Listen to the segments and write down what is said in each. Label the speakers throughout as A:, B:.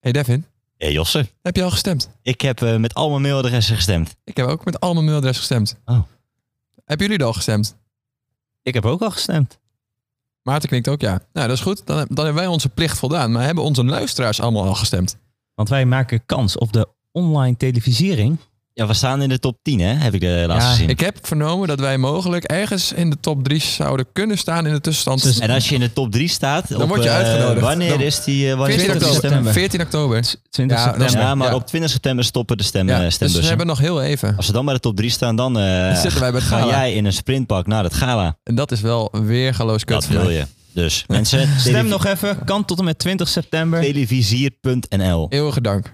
A: Hey Devin,
B: Hé Josse,
A: heb je al gestemd?
B: ik heb eh, met al mijn mailadressen gestemd.
A: Ik heb ook met al mijn mailadres gestemd.
B: Oh.
A: Hebben jullie er al gestemd?
B: Ik heb ook al gestemd.
A: Maarten knikt ook ja. Nou, dat is goed. Dan, dan hebben wij onze plicht voldaan. Maar hebben onze luisteraars allemaal al gestemd?
C: Want wij maken kans op de online televisiering.
B: Ja, we staan in de top 10 hè, heb ik de laatste
C: Ja,
B: zin.
A: Ik heb vernomen dat wij mogelijk ergens in de top 3 zouden kunnen staan in de tussenstand.
C: Dus-
B: En als je in de top 3 staat...
A: Dan
B: op,
A: word je
B: eh,
A: uitgenodigd.
B: wanneer
A: Dan-
B: is die... eh, wanneer
A: 14
B: is
C: 20
B: die
A: oktober.
C: september.
A: 14 oktober.
C: 20
A: Ja, dat is-
C: september.
B: Ja, maar
A: Ja.
B: op 20 september stoppen de stem, eh,
A: Ja, dus we
B: stembussen.
A: hebben nog heel even.
B: Als we dan bij de top 3 staan, dan eh,
A: Dan zitten wij bij het
B: ga
A: gala.
B: jij in een sprintpak naar het gala.
A: En dat is wel weer galoos kut
B: Dat
A: van
B: wil
A: mij.
B: je. Dus mensen,
C: Stem
B: televi-
C: nog even. Kan tot en met 20 september.
B: televisier.nl.
A: Eeuwige dank.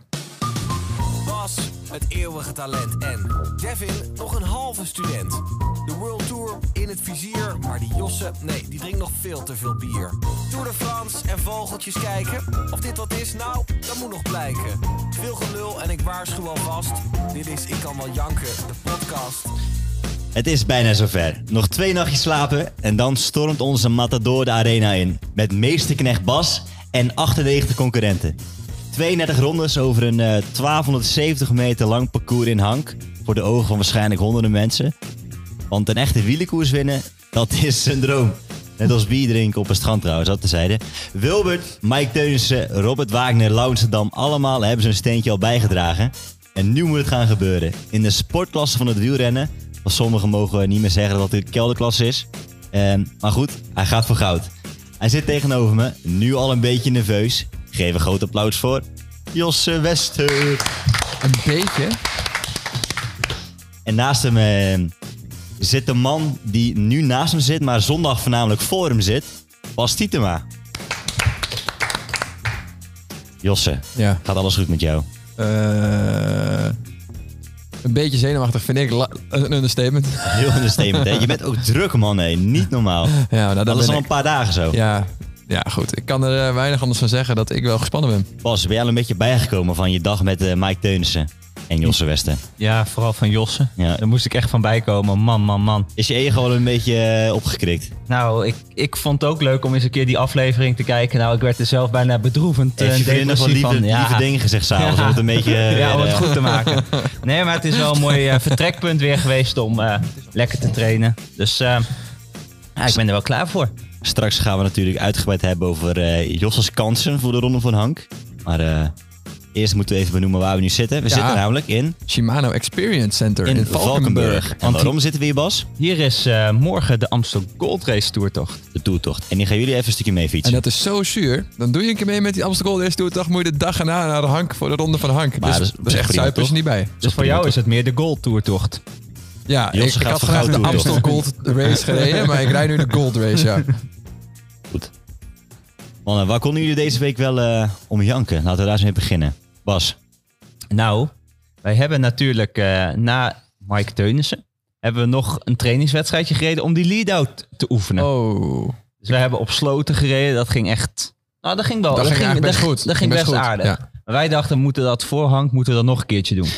D: Bas, het eeuwige talent. En Devin, nog een halve student. De World Tour in het vizier, maar die Josse, nee, die drinkt nog veel te veel bier. Tour de France en vogeltjes kijken. Of dit wat is, nou, dat moet nog blijken. Veel gelul en ik waarschuw alvast. Dit is Ik Kan Wel Janken, de podcast.
B: Het is bijna zover. Nog twee nachtjes slapen en dan stormt onze Matador de arena in. Met meesterknecht Bas en 98 concurrenten. 32 rondes over een eh, 1270 meter lang parcours in Hank. Voor de ogen van waarschijnlijk honderden mensen. Want een echte wielenkoers winnen, dat is een droom. Net als bier drinken op een strand trouwens, dat tezijde. Wilbert, Mike Teunissen, Robert Wagner, Lauwensdam, allemaal hebben ze een steentje al bijgedragen. En nu moet het gaan gebeuren. In de sportklasse van het wielrennen, want sommigen mogen niet meer zeggen dat het een kelderklasse is. Ehm, maar goed, hij gaat voor goud. Hij zit tegenover me, nu al een beetje nerveus. Geef een groot applaus voor Josse Wester.
A: Een beetje.
B: En naast hem eh, zit de man die nu naast hem zit, maar zondag voornamelijk voor hem zit. Bas Tietema. Josse,
A: Ja.
B: gaat alles goed met jou?
A: Eh, een beetje zenuwachtig vind ik la- een understatement.
B: Heel understatement, hè? Je bent ook druk, man. Hè? Niet normaal.
A: Ja, nou, dat
B: Dat is
A: ben
B: al
A: ik.
B: een paar dagen zo.
A: Ja, ja, goed. Ik kan er eh, weinig anders van zeggen dat ik wel gespannen ben.
B: Bas, ben jij al een beetje bijgekomen van je dag met eh, Mike Teunissen en Josse Westen?
C: Ja, vooral van Josse.
B: Ja.
C: Daar moest ik echt van bijkomen. Man, man, man.
B: Is je ego al een beetje eh, opgekrikt?
C: Nou, ik, ik vond het ook leuk om eens een keer die aflevering te kijken. Nou, ik werd er zelf bijna bedroevend eh,
B: Heeft
C: en
B: je vriendin nog wel
C: depressief
B: lieve,
C: van.
B: lieve dingen gezegd s'avonds?
C: Ja.
B: Om het een beetje... eh,
C: Ja, om het
B: eh,
C: goed te maken. Nee, maar het is wel een mooi eh, vertrekpunt weer geweest om eh, lekker te trainen. Dus eh, ja, ik ben er wel klaar voor.
B: Straks gaan we natuurlijk uitgebreid hebben over eh Josse's kansen voor de Ronde van Hank. Maar eh, eerst moeten we even benoemen waar we nu zitten. We
A: Ja.
B: zitten namelijk in,
A: Shimano Experience Center
B: in,
A: in,
B: Valkenburg. En
C: Want die-
B: waarom zitten we hier, Bas?
C: Hier is eh, morgen de Amstel Gold Race Dus Toertocht.
B: De toertocht. En die gaan jullie even een stukje mee
A: En
B: fietsen.
A: dat is zo zuur. Dan doe je een keer mee met die Amsterdam Gold Race Tour. Dag moet je de dag erna naar de Hank voor de ronde van Hank.
B: Maar
A: dus,
B: dat is-
A: dat is echt
B: prima,
A: zuipen is
B: toch?
A: niet bij.
C: Dus voor jou is het meer de Gold Toertocht.
A: Ja, ik,
B: Jos
A: ik
B: gaat
A: had
B: voor
A: graag
B: goud dus.
A: de
B: toe,
A: Amstel Gold Race gereden, maar ik rijd nu de Gold Race, ja.
B: Goed. Mannen, waar konden jullie deze week wel eh, om janken? Laten we daar eens mee beginnen. Bas,
C: Nou, wij hebben natuurlijk eh, na Mike Teunissen... hebben we nog een trainingswedstrijdje gereden om die lead-out te oefenen.
A: Oh,
C: Dus we hebben op sloten gereden. Dat ging echt... Nou, dat ging wel.
A: dat, ging eigenlijk best
C: dat-
A: goed.
C: Dat ging best,
A: goed.
C: aardig.
A: Ja.
C: Maar wij dachten, we moeten dat voorhang moeten we dat nog een keertje doen.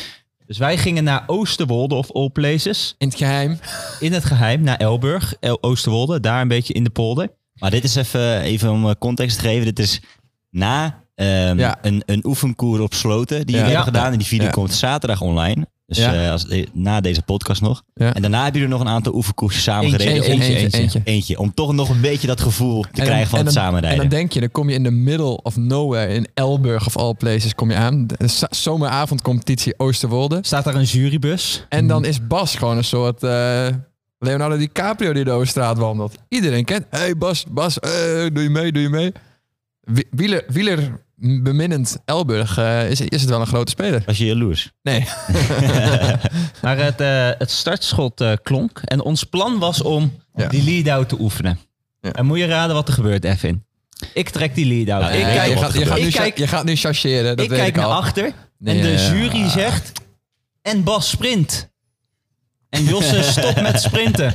C: Dus wij gingen naar Oosterwolde of All Places.
A: In het geheim.
C: In het geheim naar Elburg, El- Oosterwolde. Daar een beetje in de polder.
B: maar dit is even, even om eh, context te geven. Dit is na ehm,
A: Ja.
B: een, een oefenkoer op sloten die jullie
A: Ja.
B: hebben
C: Ja.
B: gedaan. En die video
A: Ja.
B: komt zaterdag online. Dus
A: Ja.
B: eh, als, eh, na deze podcast nog.
A: Ja.
B: En daarna hebben jullie nog een aantal oefenkoersjes samen
C: Eentje,
B: gereden.
C: eentje,
B: Eentje,
A: eentje, eentje.
B: Eentje, om toch nog een beetje dat gevoel te
A: En dan-
B: krijgen van
A: en
B: het
A: dan- En
B: samenrijden.
A: dan denk je, dan kom je in de middle of nowhere in Elburg of all places kom je aan. De z- Zomeravondcompetitie Oosterwolde.
C: Staat daar een jurybus.
A: En dan is Bas gewoon een soort eh, Leonardo DiCaprio die door de straat wandelt. Iedereen kent. Hé hey Bas, Bas, eh, doe je mee, doe je mee. Wi- Wieler, wieler beminnend Elburg eh, is, is het wel een grote speler.
B: Was je jaloers?
A: Nee.
C: Maar het, eh, het startschot eh, klonk. En ons plan was om
A: Ja.
C: die lead-out te oefenen.
A: Ja.
C: En moet je raden wat er gebeurt, Evin. Ik trek die lead-out.
B: Nou,
C: ik
B: ja,
A: Nee,
C: kijk,
A: je,
B: wat
A: gaat,
B: er
A: je,
B: gebeurt.
A: gaat nu,
C: Ik
A: cha-
C: kijk-
A: je gaat nu chargeren, dat
C: ik
A: weet
C: kijk
A: ik
C: naar
A: al.
C: achter. En
A: Ja.
C: de jury zegt... En Bas sprint. En Josse stopt met sprinten.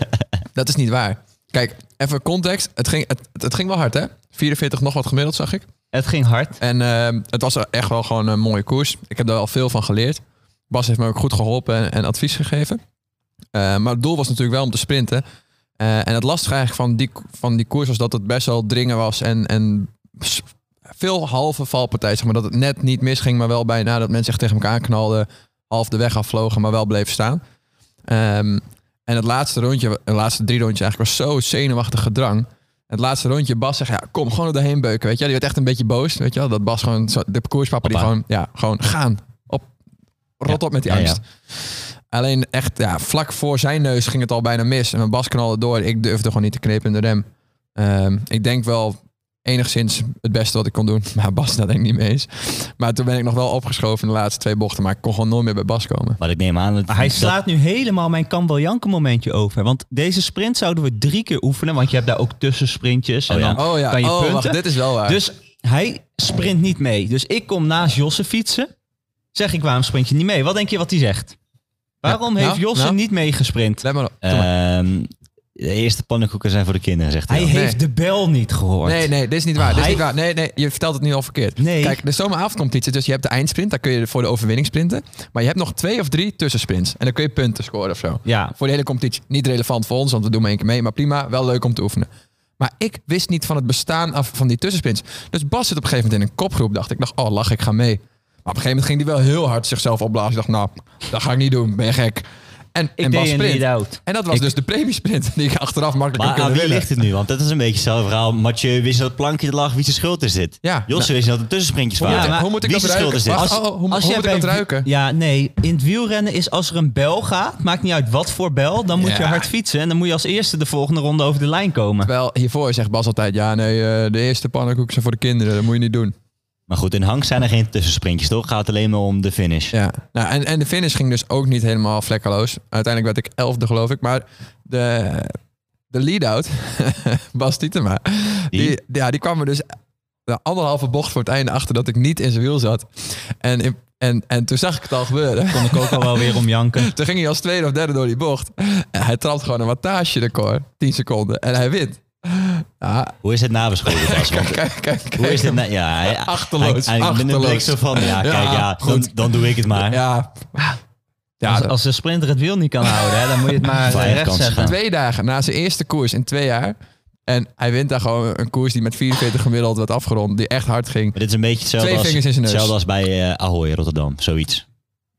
A: Dat is niet waar. Kijk, even context. Het ging, het, het ging wel hard, hè? 44 nog wat gemiddeld, zag ik.
C: Het ging hard.
A: En ehm, het was echt wel gewoon een mooie koers. Ik heb daar al veel van geleerd. Bas heeft me ook goed geholpen en, en advies gegeven. Eh, maar het doel was natuurlijk wel om te sprinten. Eh, en het lastige eigenlijk van die, van die koers was dat het best wel dringen was en, en s- veel halve valpartijen. Zeg maar dat het net niet misging, maar wel bijna dat mensen echt tegen elkaar knalden. Half de weg afvlogen, maar wel bleef staan. Ehm, en het laatste rondje, de laatste drie rondjes eigenlijk, was zo zenuwachtig gedrang. Het laatste rondje, Bas zegt, ja, kom gewoon er doorheen beuken, weet je. wel. Die werd echt een beetje boos, weet je wel. Dat Bas gewoon, zo- de parcourspapa die
C: Hoppa.
A: gewoon, ja, gewoon gaan. Op, rot op met die
B: Ja, ja.
A: angst. Alleen echt, ja, vlak voor zijn neus ging het al bijna mis. En mijn Bas knalde door. Ik durfde gewoon niet te knepen in de rem. Ehm, ik denk wel enigszins het beste wat ik kon doen. Maar Bas dat denk ik niet mee eens. Maar toen ben ik nog wel opgeschoven in de laatste twee bochten. Maar ik kon gewoon nooit meer bij Bas komen.
B: Maar ik neem aan... dat-
C: Maar hij
B: dat-
C: slaat nu helemaal mijn Campbell Janken momentje over. Want deze sprint zouden we drie keer oefenen. Want je hebt daar ook tussensprintjes. En
B: Oh ja.
C: dan
A: Oh ja,
C: kan je
A: oh,
C: punten.
A: wacht, dit is wel waar.
C: Dus hij sprint niet mee. Dus ik kom naast Josse fietsen. Zeg ik, waarom sprint je niet mee? Wat denk je wat hij zegt? Waarom
A: Ja,
C: heeft
A: nou,
C: Josse
A: nou.
C: niet meegesprint?
A: Let maar op. Doe maar.
B: Ehm, de eerste pannenkoeken zijn voor de kinderen, zegt hij.
C: Hij
B: dan.
A: Nee.
C: heeft de bel niet gehoord.
A: Nee, nee, dit is niet waar. Dit is
C: Hij-
A: niet waar. Nee, nee, je vertelt het nu al verkeerd.
C: Nee.
A: Kijk, de zomeravondcompetitie, dus je hebt de eindsprint. Daar kun je voor de overwinning sprinten. Maar je hebt nog twee of drie tussensprints. En dan kun je punten scoren of zo.
C: Ja,
A: Nou, Voor de hele competitie. Niet relevant voor ons, want we doen maar één keer mee. Maar prima, wel leuk om te oefenen. Maar ik wist niet van het bestaan af van die tussensprints. Dus Bas zit op een gegeven moment in een kopgroep. Dacht ik, dacht, oh lach, ik ga mee. Maar op een gegeven moment ging hij wel heel hard zichzelf opblazen. Ik dacht, nou, dat ga ik niet doen. Ben je gek? En,
C: ik
A: en Bas
C: deed een
A: sprint.
C: lead-out.
A: En dat was dus de premiesprint die ik achteraf makkelijk
B: Maar
A: had
B: aan
A: kunnen
B: wie
A: winnen.
B: ligt het nu? Want dat is een beetje hetzelfde verhaal. Mathieu wist dat het plankje er lag, wie zijn schuld is dit?
A: Ja. Nou-
B: Josse wist dat het tussensprintjes
A: Hoe moet
B: waren.
A: ik- hoe moet ik
B: wie
A: dat
B: zijn schuld is
A: ruiken?
B: dit?
A: Wacht, oh, hoe- hoe
C: jij
A: moet ik dat
C: bij-
A: ruiken?
C: Ja, nee. In het wielrennen is als er een bel gaat, maakt niet uit wat voor bel, dan moet je
A: Ja.
C: hard fietsen. En dan moet je als eerste de volgende ronde over de lijn komen.
A: Terwijl hiervoor zegt Bas altijd, ja nee, eh, de eerste pannenkoeken zijn voor de kinderen. Dat moet je niet doen.
B: Maar goed, in Hank zijn er geen tussensprintjes, toch? Gaat het alleen maar om de finish.
A: Ja, nou, en, en de finish ging dus ook niet helemaal vlekkeloos. Uiteindelijk werd ik elfde, geloof ik. Maar de, de lead-out, Bas Tietema, die,
B: Die?
A: ja, die kwam er dus de anderhalve bocht voor het einde achter dat ik niet in zijn wiel zat. En, in- en, en toen zag ik het al gebeuren.
C: Kon ik ook al wel weer om janken.
A: Toen ging hij als tweede of derde door die bocht. En hij trapt gewoon een wattagerecord, 10 seconden. En hij wint. Ja,
B: Hoe is het
C: nou,
B: nabeschouwd? Bas? Want-
A: kijk, kijk, kijk.
B: Hoe is dit? nou- ja, hij-
A: Achterloos,
B: hij- hij- Ik ben er
A: achterloos.
B: blik zo van. Ja, kijk, ja,
A: Ja,
B: dan, dan doe ik het maar.
A: Ja, ja
C: als,
A: dat-
C: als de sprinter het wiel niet kan houden, hè, dan moet je het maar
B: Vijf
C: eh, recht
B: kansen
C: zetten.
B: gaan.
A: twee dagen na zijn eerste koers in twee jaar. En hij wint daar gewoon een koers die met 44 gemiddeld werd afgerond. Die echt hard ging.
B: Maar dit is een beetje hetzelfde,
A: Twee
B: als,
A: vingers in zijn neus.
B: hetzelfde als bij eh, Ahoy Rotterdam, zoiets.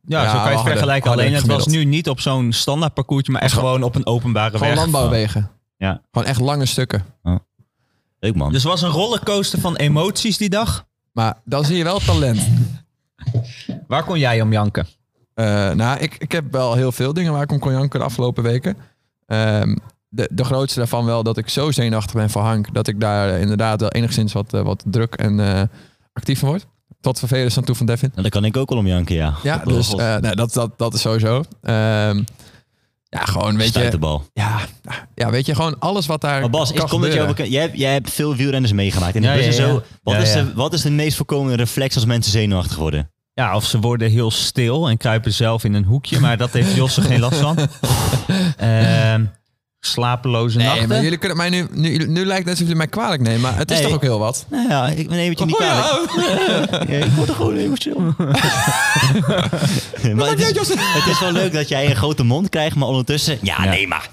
C: Ja,
A: Ja,
C: zo kan je
A: harder,
C: het vergelijken. Alleen
A: harder
C: het was
A: gemiddeld.
C: nu niet op zo'n standaard parcoursje, maar echt gewoon op een openbare
A: Gewoon
C: weg.
A: landbouwwegen.
C: Ja.
A: Gewoon echt lange stukken.
B: Leuk man.
C: Dus het was een rollercoaster van emoties die dag.
A: Maar dan zie je wel talent.
C: Waar kon jij om janken?
A: Eh, nou, ik, ik heb wel heel veel dingen waar ik om kon janken de afgelopen weken. Ehm, de, de grootste daarvan wel dat ik zo zenuwachtig ben voor Hank... dat ik daar eh, inderdaad wel enigszins wat, eh, wat druk en eh, actief van word. Tot vervelend aan toe van Devin.
B: Nou, dat kan ik ook wel om janken, ja.
A: Ja,
B: Oh,
A: dus
B: God.
A: eh, nou, dat, dat, dat is sowieso. Ehm, ja, gewoon weet
B: Stuit de
A: je...
B: bal.
A: Ja, ja, weet je, gewoon alles wat daar
B: Maar Bas,
A: kan
B: ik kom dat jou
A: gebeuren.
B: bekend. Jij, hebt- jij hebt veel wielrenners meegemaakt. In de
C: Ja,
B: bus en
C: ja, ja.
B: zo. Wat,
C: Ja,
B: is
C: ja.
B: De, wat is de meest voorkomende reflex als mensen zenuwachtig worden?
C: Ja, of ze worden heel stil en kruipen zelf in een hoekje. Maar dat heeft Josse geen last van. Ehm, slapeloze
A: Nee,
C: nachten.
A: maar jullie kunnen mij nu, nu... Nu lijkt het alsof jullie mij kwalijk nemen, maar het is
B: Nee.
A: toch ook heel wat?
B: Nou ja, ik neem het je niet
A: Oh ja,
B: kwalijk. Ik word er gewoon emotioneel. maar het, is, het is wel leuk dat jij een grote mond krijgt, maar ondertussen... Ja,
C: Ja.
B: nee, maar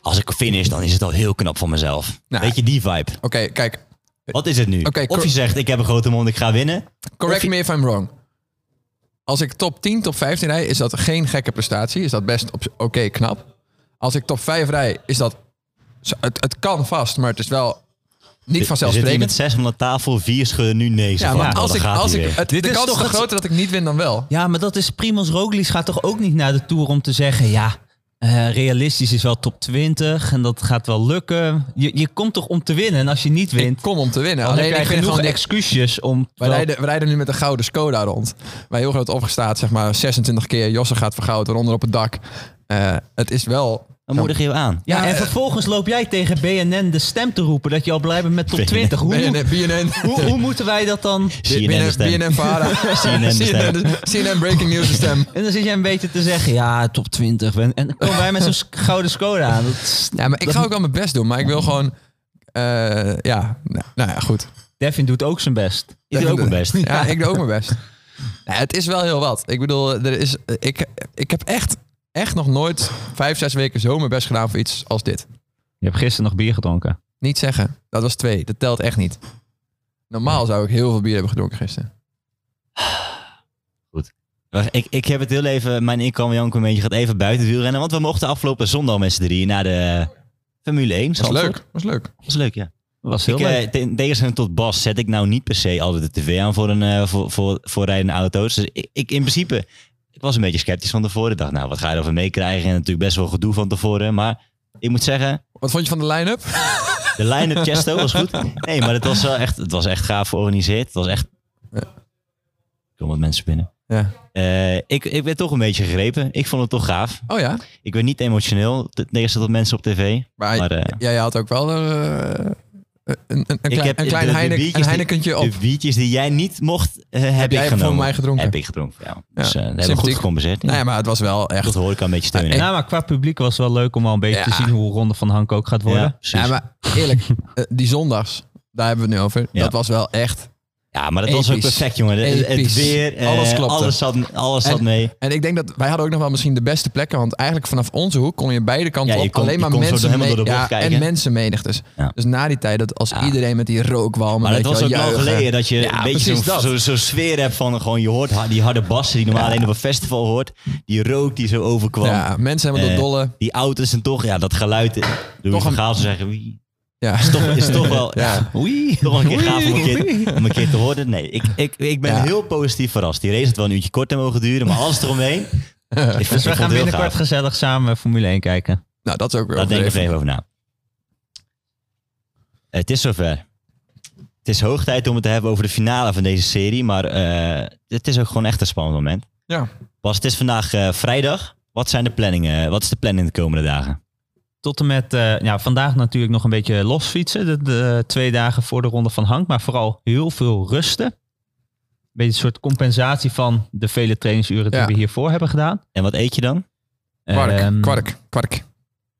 B: als ik finish, dan is het al heel knap van mezelf.
A: Nou.
B: Weet je, die vibe.
A: Oké, kijk.
B: Wat is het nu?
A: Oké,
B: of
A: cor-
B: je zegt, ik heb een grote mond, ik ga winnen.
A: Correct me if I'm wrong. Als ik top 10, top 15 rij, is dat geen gekke prestatie. Is dat best op- oké knap. Als ik top 5 rij, is dat... zo- Het, het kan vast, maar het is wel niet
B: Er zit hier met
A: vanzelfsprekend.
B: zes van de tafel, vier schudden nu nee.
A: Ja, maar als ik... Als ik het, de
C: Dit is
A: kans is
C: toch
A: toch
C: het-
A: groter dat ik niet win dan wel.
C: Ja, maar dat is Primoz Roglic gaat toch ook niet naar de Tour om te zeggen... ja, eh, realistisch is wel top 20 en dat gaat wel lukken. Je, je komt toch om te winnen en als je niet
A: Ik
C: wint...
A: kom om te winnen.
C: Dan heb
A: Alleen
C: jij
A: ik vind
C: genoeg
A: gewoon de
C: excuusjes om...
A: Wij rijden, wij rijden nu met een gouden Skoda rond. Wij heel groot opgestaat, zeg maar 26 keer. Josse gaat vergoud, eronder op het dak. Eh, het is wel...
B: Dan moedig je hem aan.
C: ja,
A: Ja,
C: en
A: eh,
C: vervolgens loop jij tegen BNN de stem te roepen... dat je al blij bent met top 20. Hoe,
A: BNN, BNN,
C: hoe, hoe moeten wij dat dan...
B: CNN de
A: BNN,
B: stem.
A: BNN Vara.
B: CNN de stem.
A: CNN, CNN Breaking News de stem.
C: En dan zit jij een beetje te zeggen, ja, top 20. ben- En dan komen wij met zo'n s- gouden Skoda aan. Dat is-
A: Ja, maar ik ga ook wel mijn best doen, maar ik wil gewoon... eh, ja, nou, nou ja, goed.
C: Devin doet ook zijn best.
B: Ik doe ook mijn best.
A: Ja, ik doe ook mijn best. Nou, het is wel heel wat. Ik bedoel, er is, ik, ik heb echt, echt nog nooit vijf, zes weken zo mijn best gedaan voor iets als dit.
C: Je hebt gisteren nog bier gedronken.
A: Niet zeggen. Dat was twee. Dat telt echt niet. Normaal zou ik heel veel bier hebben gedronken gisteren.
B: Wacht, Ik, ik heb het heel even, mijn inkomen Janko een beetje gaat even buiten het rennen. Want we mochten afgelopen zondag met z'n drieën naar de Formule 1.
A: Was
B: Zandvoort.
A: leuk, was leuk.
B: was leuk, ja.
C: Was heel
B: Ik,
C: leuk.
B: eh, te- in tegenstelling tot Bas zet ik nou niet per se altijd de tv aan voor, een, eh, voor, voor, voor rijdende auto's. Dus ik, ik in principe, ik was een beetje sceptisch van tevoren. Ik dacht, nou, wat ga je erover meekrijgen? En natuurlijk best wel gedoe van tevoren. Maar ik moet zeggen,
A: Wat vond je van de line-up?
B: de line-up Chesto was goed. Nee, maar het was wel echt, het was echt gaaf georganiseerd. Het was echt...
A: Ja.
B: Er komen wat mensen binnen.
A: Ja.
B: Eh, ik, ik ben toch een beetje gegrepen. Ik vond het toch gaaf.
A: Oh ja,
B: Ik ben niet emotioneel, ten eerste tot mensen op tv.
A: maar,
B: Maar, eh,
A: jij had ook wel eh, een, een, een klein,
B: heb
A: een klein
B: de- de
A: Heinek-
B: biertjes
A: een
B: die-
A: Heinekentje op.
B: De biertjes die jij niet mocht, eh, heb,
A: Heb
B: ik
A: jij voor
B: genomen.
A: mij gedronken?
B: Heb ik gedronken, ja. Dus eh daar hebben we
A: sympathiek.
B: goed gecompenseerd. Ja.
A: Nou ja, maar het was wel echt...
B: Dat hoor ik al een beetje steunen.
C: nou, maar qua publiek was het wel leuk om al een beetje
A: Ja.
C: te zien hoe Ronde van Hank ook gaat worden.
B: ja, precies.
A: Ja,
B: ja, maar,
A: maar eerlijk, eh, die zondags, daar hebben we het nu over.
B: Ja.
A: Dat was wel echt...
B: dat was ook
A: Episch.
B: perfect, jongen. Het, het
A: Episch.
B: weer, eh,
A: Alles klopte.
B: alles zat, alles zat
A: En-
B: mee.
A: En ik denk dat wij hadden ook nog wel misschien de beste plekken. Want eigenlijk vanaf onze hoek kon je beide kanten
B: Ja, je
A: op.
B: kon-
A: alleen
B: je
A: maar
B: kon zo
A: mensen
B: helemaal door de
A: ja,
B: bocht kijken.
A: en mensenmenigtes.
B: Ja.
A: Dus na die tijd, dat als
B: Ja.
A: iedereen met die rookwalmen...
B: Maar het
A: weet
B: was
A: je
B: ook
A: wel,
B: lang
A: juichen.
B: geleden dat je
A: Ja,
B: een beetje
A: precies
B: zo'n
A: dat.
B: zo, zo'n sfeer hebt van gewoon je hoort ha- die harde bassen die normaal alleen op een festival hoort. Die rook die zo overkwam.
A: Ja, mensen helemaal
B: Eh,
A: door dolle.
B: Die auto's en toch, ja, dat geluid. eh, Doe
A: Toch
B: van
A: een-
B: Gaal zou zeggen, wie?
A: Ja.
B: Is toch, is toch wel...
A: Ja.
B: ja,
C: Dus
B: Nog een keer gaaf om een keer, om een keer te horen. Nee, ik, ik, ik ben
A: Ja.
B: heel positief verrast. Die race had wel een uurtje kort te mogen duren, maar alles eromheen. Ik vond- ik
C: Dus
B: vond
C: we
B: het
C: gaan
B: heel
C: binnenkort
B: gaaf.
C: gezellig samen Formule 1 kijken.
A: Nou, dat is ook weer
B: Daar denk ik
A: overdreven.
B: even over na. Het is zover. Het is hoog tijd om het te hebben over de finale van deze serie, maar eh, het is ook gewoon echt een spannend moment.
A: Ja.
B: Bas, het is vandaag eh, vrijdag. Wat zijn de planningen? Wat is de planning de komende dagen?
C: Tot en met eh, ja, vandaag natuurlijk nog een beetje losfietsen. De, de eh, twee dagen voor de Ronde van Hank. Maar vooral heel veel rusten. Een beetje een soort compensatie van de vele trainingsuren die
A: Ja.
C: we hiervoor hebben gedaan.
B: En wat eet je dan?
A: Kwark,
C: Ehm,
A: kwark,
B: dus
A: kwark.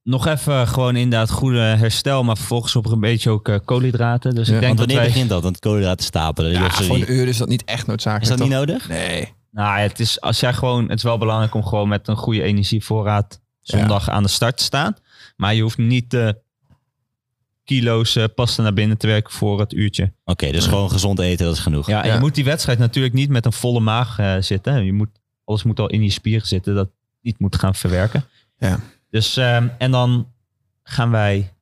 C: Nog even gewoon inderdaad goede herstel. Maar vervolgens op een beetje ook eh, koolhydraten. Dus
A: Ja,
C: ik denk
B: Want
C: dat
B: wanneer
C: wij...
B: begint dat? Want koolhydraten stapelen. Dus
A: Ja,
B: lossen
A: voor
B: die-
A: een uur is dat niet echt noodzakelijk.
B: Is dat niet
A: toch?
B: nodig?
A: Nee.
C: Nou, ja, het is, als jij gewoon, het is wel belangrijk om gewoon met een goede energievoorraad zondag aan de start te staan. Maar je hoeft niet de kilo's eh, pasta naar binnen te werken voor het uurtje.
B: Oké, dus gewoon gezond eten, dat is genoeg.
C: Ja, en
A: Ja.
C: je moet die wedstrijd natuurlijk niet met een volle maag eh, zitten. hè. Je moet, alles moet al in je spieren zitten, dat niet moet gaan verwerken.
A: Ja.
C: Dus, ehm, en dan gaan wij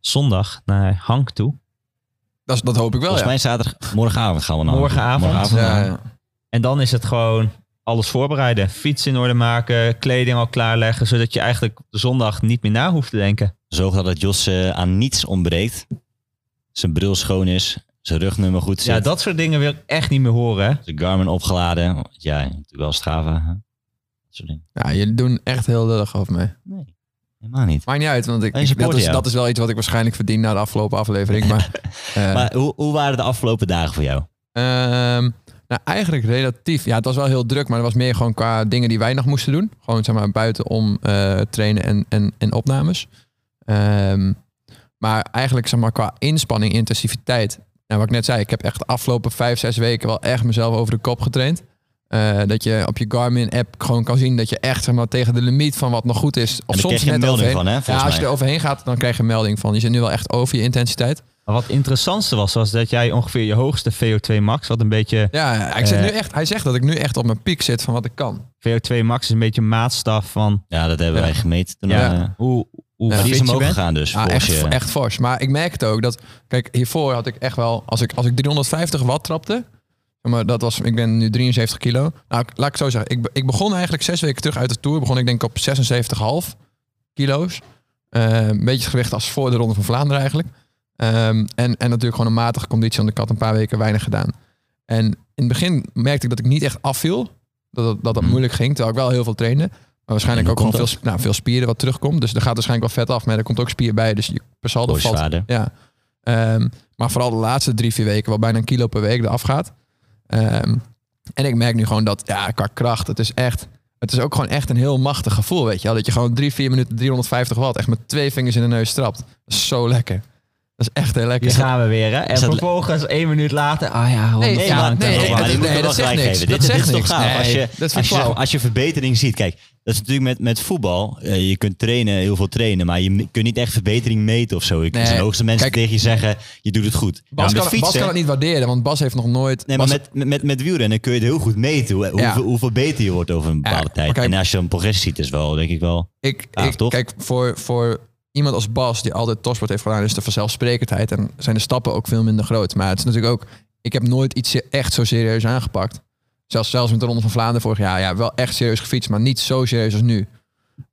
C: zondag naar Hank toe.
A: Dat, is- dat hoop ik wel,
B: Volgens
A: Oh ja.
B: mij zaterdag, morgenavond gaan we naar.
C: Morgenavond.
A: Ja,
B: naar-
A: ja.
C: En dan is het gewoon alles voorbereiden. Fiets in orde maken, kleding al klaarleggen, zodat je eigenlijk op de zondag niet meer na hoeft te denken.
B: Zorg dat het Jos eh, aan niets ontbreekt. Zijn bril schoon is. Zijn rugnummer goed zit.
C: Ja, dat soort dingen wil ik echt niet meer horen. Hè?
B: Zijn Garmin opgeladen. Want Ja, natuurlijk wel Strava. hè? Dat soort dingen.
A: Ja, jullie doen echt heel lullig over mij.
B: Nee, helemaal niet.
A: Maakt niet uit, want ik,
B: Wij
A: ik- dat,
B: supporten
A: is,
B: jou.
A: dat is wel iets wat ik waarschijnlijk verdien na de afgelopen aflevering. Maar, eh,
B: Maar hoe, hoe waren de afgelopen dagen voor jou?
A: ehm, nou, eigenlijk relatief. Ja, het was wel heel druk, maar het was meer gewoon qua dingen die wij nog moesten doen. Gewoon zeg maar buiten om eh, trainen en, en, en opnames. Ehm, maar eigenlijk zeg maar qua inspanning, intensiviteit. Nou, wat ik net zei, ik heb echt de afgelopen vijf, zes weken wel echt mezelf over de kop getraind. Eh, dat je op je Garmin-app gewoon kan zien dat je echt zeg maar, tegen de limiet van wat nog goed is. Of
B: daar
A: soms
B: kreeg je een
A: net
B: melding
A: overheen.
B: van, hè,
A: Ja,
B: volgens
A: als je
B: mij.
A: er overheen gaat, dan krijg je een melding van. Je zit nu wel echt over je intensiteit.
C: Maar wat het interessantste was, was dat jij ongeveer je hoogste VO2 max, wat een beetje,
A: Ja, ik zit
C: Eh.
A: nu echt, hij zegt dat ik nu echt op mijn piek zit van wat ik kan.
C: VO2 max is een beetje een maatstaf van
B: Ja, dat hebben
A: Ja.
B: wij gemeten. Toen
A: Ja.
B: al, eh.
C: hoe, hoe
B: Maar die
C: fit
B: is
C: je
B: omhoog
C: bent.
B: gegaan dus.
A: Ja,
B: volgens
A: Ah, echt,
B: je.
A: echt fors. Maar ik merk het ook dat... Kijk, hiervoor had ik echt wel... Als ik, als ik 350 watt trapte... Maar dat was, ik ben nu 73 kilo. Nou, ik- laat ik het zo zeggen. Ik, be- ik begon eigenlijk zes weken terug uit de Tour. Begon ik denk op 76,5 kilo's. Eh, een beetje het gewicht als voor de Ronde van Vlaanderen eigenlijk. Ehm, en, en natuurlijk gewoon een matige conditie. Want ik had een paar weken weinig gedaan. En in het begin merkte ik dat ik niet echt afviel. Dat dat, dat, dat
B: Hmm.
A: moeilijk ging. Terwijl ik wel heel veel trainde. Maar waarschijnlijk
B: En
A: ook
B: hoe
A: gewoon
B: komt
A: veel, sp- nou, veel spieren wat terugkomt. Dus er gaat waarschijnlijk wel vet af. Maar er komt ook spier bij. Dus je per saldo
B: Word je
A: valt
B: zwaarder.
A: ja. Ehm, maar vooral de laatste drie, vier weken, wel bijna een kilo per week eraf gaat. Ehm, en ik merk nu gewoon dat, ja, qua kracht, het is echt... Het is ook gewoon echt een heel machtig gevoel, weet je wel. Dat je gewoon drie, vier minuten 350 watt echt met twee vingers in de neus trapt. Dat is zo lekker. Dat is echt heel lekker.
C: Hier gaan we weer, hè? En
B: Is dat le-
C: vervolgens één minuut later... Ah ja, hoe
A: Nee,
C: moet
A: ja,
C: gaan
A: nee,
C: het
A: nee,
C: dan
B: maar
C: wel?
A: dat-
B: eh, die moet ik
A: nee,
B: wel
A: dat
B: gelijk
A: zegt niks.
B: geven. Dit,
A: Dat
B: dit
A: zegt
B: is toch
A: niks.
B: gaaf. als,
A: Nee,
B: je,
A: dat vind ik
B: als, je,
A: flauw.
B: als je verbetering ziet. Kijk, dat is natuurlijk met, met voetbal. Eh, je kunt trainen, heel veel trainen. Maar je m- kunt niet echt verbetering meten of zo. Ik
A: Nee,
B: zijn hoogste mensen
A: kijk.
B: tegen je zeggen, je doet het goed.
A: Bas,
B: Maar met
A: kan, Bas
B: fietsen-
A: kan het niet waarderen, want Bas heeft nog nooit...
B: Nee, maar
A: Bas-
B: met, met, met wielrennen kun je het heel goed meten. Hoe, hoeveel, hoeveel beter je wordt over een bepaalde
A: maar
B: tijd.
A: kijk-
B: en als je een progressie ziet, is wel, denk ik wel.
A: ik,
B: Ja,
A: ik-
B: toch?
A: Kijk, voor, voor iemand als Bas, die altijd topsport heeft gedaan, is de vanzelfsprekendheid en zijn de stappen ook veel minder groot. Maar het is natuurlijk ook, ik heb nooit iets se- echt zo serieus aangepakt. Zelfs, zelfs met de Ronde van Vlaanderen vorig jaar, ja, wel echt serieus gefietst, maar niet zo serieus als nu.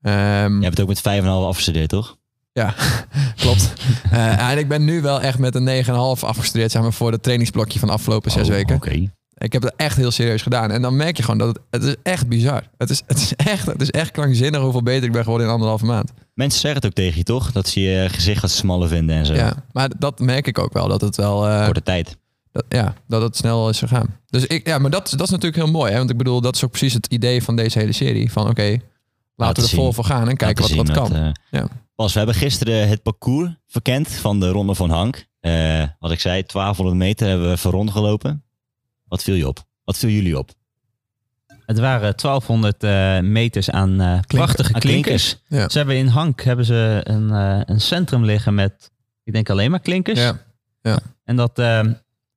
A: Ehm,
B: Je hebt het ook met 5,5 afgestudeerd, toch?
A: Ja, klopt. Eh, en ik ben nu wel echt met een 9,5 afgestudeerd, zeg maar, voor het trainingsblokje van de afgelopen zes
B: Oh,
A: weken.
B: Oké.
A: Ik heb dat echt heel serieus gedaan. En dan merk je gewoon dat het, het is echt bizar. Het is, het, is echt, het is echt krankzinnig hoeveel beter ik ben geworden in anderhalve maand.
B: Mensen zeggen het ook tegen je, toch? Dat ze je gezicht wat smaller vinden en zo.
A: Ja, maar dat merk ik ook wel. Dat het wel, eh,
B: Korte tijd.
A: dat, ja, dat het snel is gegaan. Dus ik, ja, maar dat, dat is natuurlijk heel mooi. Hè? Want ik bedoel, dat is ook precies het idee van deze hele serie. Van oké, laten we er
B: zien.
A: vol voor gaan en kijken wat,
B: Laten
A: wat
B: zien
A: kan.
B: eh,
A: Ja.
B: Bas, we hebben gisteren het parcours verkend van de Ronde van Hank. Eh, wat ik zei, 1200 meter hebben we voor rond gelopen. Wat viel je op? Wat viel jullie op?
C: Het waren 1200 eh, meters aan eh, prachtige
B: aan
C: klinkers.
B: klinkers.
A: Ja.
C: Ze hebben in Hank hebben ze een, eh, een centrum liggen met, ik denk alleen maar klinkers.
A: Ja.
C: En dat, eh,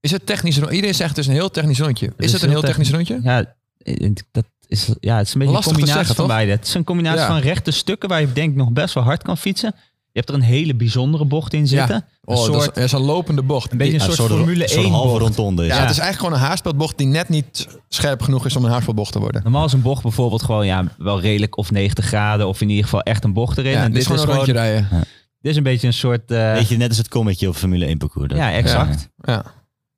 A: Is het technisch rondje? Iedereen zegt het is een heel technisch rondje. Is,
C: is
A: het een
C: heel
A: heel technisch, rondje?
C: ja, eh, dat is, ja, het is een
A: Lastig te
C: beetje een combinatie
A: zeggen,
C: van
A: toch?
C: beide. Het is een combinatie
A: Ja.
C: van rechte stukken waar je denk ik nog best wel hard kan fietsen. Je hebt er een hele bijzondere bocht in zitten.
A: Oh,
C: een soort,
A: dat is, er is een lopende bocht.
C: een beetje een
B: Ja,
C: soort Formule
B: een soort
C: 1
B: halve
C: bocht.
B: rondonde. is
A: ja,
B: het.
A: het is eigenlijk gewoon een haarspeldbocht die net niet scherp genoeg is om een haarspeldbocht te worden.
C: Normaal is een bocht bijvoorbeeld gewoon ja, wel redelijk of 90 graden of in ieder geval echt een bocht erin.
A: Ja,
C: en
A: dit is gewoon een rondje rijden.
C: dit is een beetje een soort... eh,
B: Weet je, net als het kommetje op Formule 1 parcours. dat-
C: ja, exact.
A: Ja,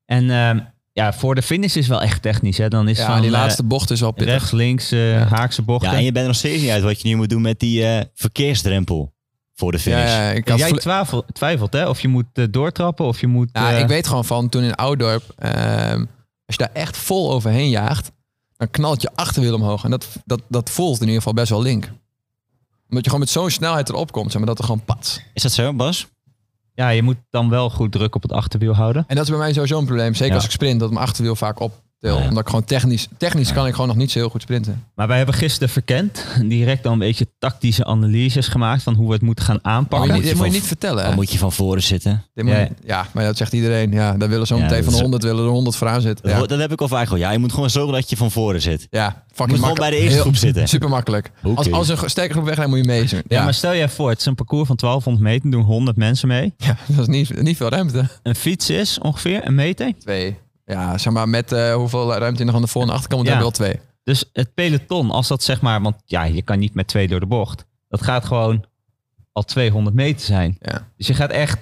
C: En ehm, ja, voor de finish is wel echt technisch. Hè. Dan is
A: ja
C: van,
A: die
C: eh,
A: laatste bocht is al pittig.
C: rechts, links, eh,
A: Ja.
C: haakse bochten.
B: Ja, en je bent er nog steeds niet uit wat je nu moet doen met die eh, verkeersdrempel voor de finish.
A: Ja, ja, ik had
C: Jij
A: vle-
C: twijfel- twijfelt hè? Of je moet eh, doortrappen of je moet...
A: Ja,
C: eh,
A: Nou, ik weet gewoon van toen in Oudorp, ehm, als je daar echt vol overheen jaagt, dan knalt je achterwiel omhoog. En dat, dat, dat voelt in ieder geval best wel link. Omdat je gewoon met zo'n snelheid erop komt, zeg maar, dat er gewoon pats.
B: Is dat zo, Bas?
C: ja, je moet dan wel goed druk op het achterwiel houden.
A: En dat is bij mij sowieso een probleem. Zeker
C: Ja.
A: als ik sprint, dat mijn achterwiel vaak optil.
B: Ja.
A: Omdat ik gewoon technisch, technisch kan ik gewoon nog niet zo heel goed sprinten.
C: Maar wij hebben gisteren verkend. Direct al een beetje tactische analyses gemaakt van hoe we het moeten gaan
A: Moet Oh, je,
C: aanpakken.
A: niet-
B: je
A: dit moet je
B: van-
A: niet vertellen.
B: Dan
A: hè?
B: moet je van voren zitten.
A: Dit moet
C: Ja.
A: je- ja, maar dat zegt iedereen. Ja, daar willen zo
B: Ja,
A: meteen
B: dat
A: van de
B: is-
A: 100 willen er 100 vooraan zitten.
B: Dat,
A: Ja,
B: ho- dat heb ik al vaak gehoord. Ja, je moet gewoon zorgen dat je van voren zit.
A: ja fucking
B: gewoon
A: makkelijk.
B: bij de eerste
A: Heel-
B: groep zitten.
A: Super makkelijk.
B: Oké.
A: Als, als een sterke groep wegrijdt, moet je mee. Ja,
C: Ja, maar stel jij voor, het is een parcours van 1200 meter, doen 100 mensen mee.
A: ja, dat is niet, niet veel ruimte.
C: Een fiets is ongeveer een meter.
A: Twee. Ja, zeg maar met eh, hoeveel ruimte je nog aan de voor- en achterkant moet
C: Ja.
A: hebben, wel twee.
C: Dus het peloton, als dat zeg maar, want ja, je kan niet met twee door de bocht. Dat gaat gewoon al 200 meter zijn.
A: Ja.
C: Dus je gaat echt.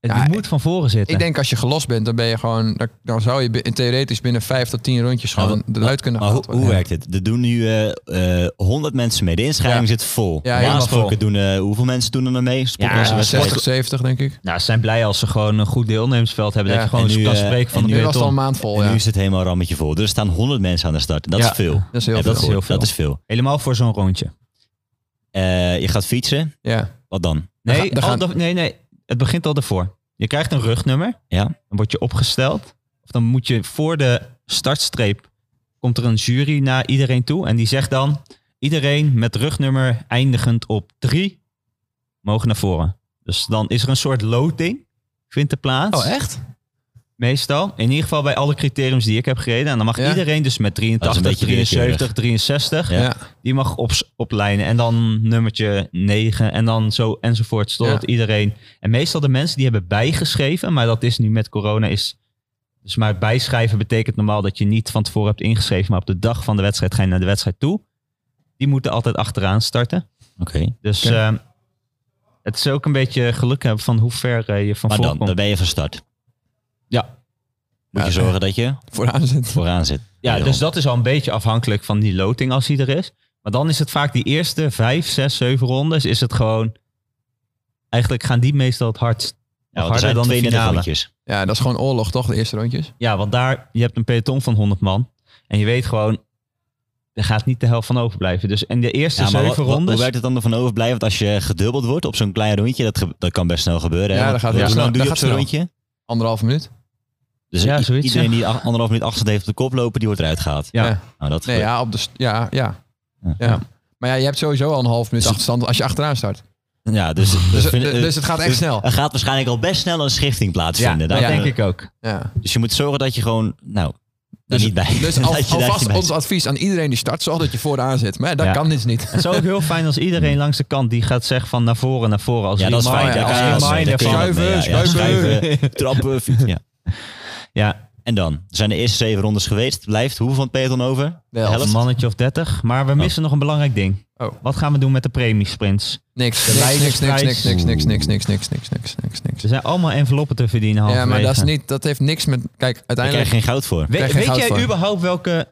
C: Het
A: Ja,
C: je moet van voren zitten.
A: Ik denk als je gelos bent, dan ben je gewoon, dan, dan zou je bi- theoretisch binnen vijf tot tien rondjes
B: Ja,
A: gewoon
B: maar-
A: eruit kunnen
B: Maar hoe,
A: gehaald
B: hoe
A: worden.
B: werkt het? Er doen nu eh, eh, 100 mensen mee. De inschrijving
A: Ja.
B: zit vol.
A: Ja,
B: Normaal
A: helemaal
B: gesproken doen eh, hoeveel mensen doen er nog mee? Sporters,
C: Ja,
A: Ja,
B: wedstrijden.
A: 60, 70 denk ik.
C: Nou, ze zijn blij als ze gewoon een goed deelnemersveld hebben.
A: Ja,
C: Dat je gewoon
B: en nu,
C: kan
B: eh,
C: spreken van
B: en
C: de
A: Nu was het al een
C: peloton.
A: maand vol,
B: En
A: ja.
B: nu is het helemaal een rammetje vol. Er staan 100 mensen aan de start. Dat
A: Ja,
B: is veel.
A: Dat is heel
B: Heb ik
A: veel.
B: gehoord.
C: heel veel.
B: Dat is veel.
C: Helemaal voor zo'n rondje.
B: Eh, je gaat fietsen.
A: Ja.
B: Wat dan?
A: Dan
C: Nee,
A: ga- dan
C: al
A: gaan-
C: dat- nee, nee, het begint al ervoor. Je krijgt een rugnummer.
B: Ja.
C: Dan word je opgesteld. Of dan moet je voor de startstreep. komt er een jury naar iedereen toe. En die zegt dan: iedereen met rugnummer eindigend op drie. mogen naar voren. Dus dan is er een soort loting. vindt er plaats.
A: Oh, echt?
C: Meestal. In ieder geval bij alle criteriums die ik heb gereden. En dan mag
A: Ja.
C: iedereen dus met
B: Dat
C: 83,
B: is een beetje
C: 73, 63.
B: Ja.
A: Ja.
C: Die mag op, oplijnen. En dan nummertje 9. En dan zo enzovoort. Totdat
A: Ja.
C: iedereen... En meestal de mensen die hebben bijgeschreven. Maar dat is nu met corona is... Dus maar bijschrijven betekent normaal dat je niet van tevoren hebt ingeschreven. Maar op de dag van de wedstrijd ga je naar de wedstrijd toe. Die moeten altijd achteraan starten.
B: Oké.
C: Dus
A: Oké.
C: ehm, het is ook een beetje geluk hebben van hoe ver eh, je van
B: Maar
C: voor
B: dan, dan
C: komt.
B: ben je van start.
C: Ja.
B: Moet
A: Ja,
B: je zorgen dat je
A: Vooraan zit.
B: vooraan zit.
C: Ja, dus dat is al een beetje afhankelijk van die loting als die er is. Maar dan is het vaak die eerste vijf, zes, zeven rondes is het gewoon... Eigenlijk gaan die meestal het hardst.
B: Ja,
C: nog
B: want er zijn
C: harder dan de
B: 32
C: finale.
B: rondjes.
A: Ja, dat is gewoon oorlog toch, de eerste rondjes?
C: Ja, want daar, je hebt een peloton van 100 man. En je weet gewoon, er gaat niet de helft van overblijven. Dus in de eerste
B: Ja, maar wat-
C: zeven
B: wat-
C: rondes...
B: Hoe werkt het dan ervan overblijven? Want als je gedubbeld wordt op zo'n klein rondje, dat, ge- dat kan best snel gebeuren.
A: Ja,
B: hè?
A: dat gaat- ja,
B: Want hoe lang
A: snel-
B: doe
A: dat
B: je op
A: gaat
B: zo'n
A: snel.
B: rondje?
A: Anderhalve minuut.
B: Dus
C: Ja,
B: i-
C: zoiets,
B: iedereen
C: ja.
B: die ach- anderhalf minuut afstand heeft op de kop lopen, die wordt eruit gehaald.
C: Ja.
B: Nou, dat
A: Nee, ja, op de, st- ja, ja.
B: Ja.
A: ja. Maar ja, je hebt sowieso al een half minuut achterstand als je achteraan start.
B: Ja, dus,
A: Dus,
B: vind-
A: dus, het gaat echt
B: dus
A: snel.
B: Er gaat waarschijnlijk al best snel een schifting plaatsvinden.
C: ja,
B: Daar-
C: dat
A: ja.
C: denk ik ook.
A: Ja.
B: Dus je moet zorgen dat je gewoon, nou, daar
A: Dus-
B: niet bij.
A: Dus
B: dat
A: al,
B: je daar niet
A: alvast
B: bij
A: ons
B: zit.
A: advies aan iedereen die start, zorg dat je vooraan zit. Maar ja, dat
C: Ja.
A: kan dit niet.
C: Het is ook heel fijn als iedereen langs de kant die gaat zeggen van naar voren, naar voren. Als
B: Hmm. Ja, dat is
C: reminder-
B: fijn.
A: ja,
B: Daar
C: als
B: kan je
A: ja,
B: wel-
A: ja,
B: daar
C: reminder
B: kun je
C: van-
B: wel mee, ja, ja,
A: schuiven,
B: schuiven, trappen, fietsen. Ja.
C: Ja,
B: En dan? Zijn de eerste zeven rondes geweest? Blijft hoeveel van het peloton over?
A: De helft.
C: een mannetje of 30. Maar
B: Oh.
C: we missen nog een belangrijk ding.
A: Oh.
C: Wat gaan we doen met de premiesprints?
A: Niks.
C: De
A: Niks, niks, niks,
C: leidersprijs.
A: niks, niks, niks, niks, niks, niks, niks, niks, niks, niks.
C: Er zijn allemaal enveloppen te verdienen
A: Ja, maar
C: halverwege.
A: dat, is niet, dat heeft niks met... Kijk,
B: Daar krijg
A: uiteindelijk...
B: je geen goud voor.
C: We-
A: krijg je
C: weet
A: goud
C: jij
A: voor.
C: überhaupt welke,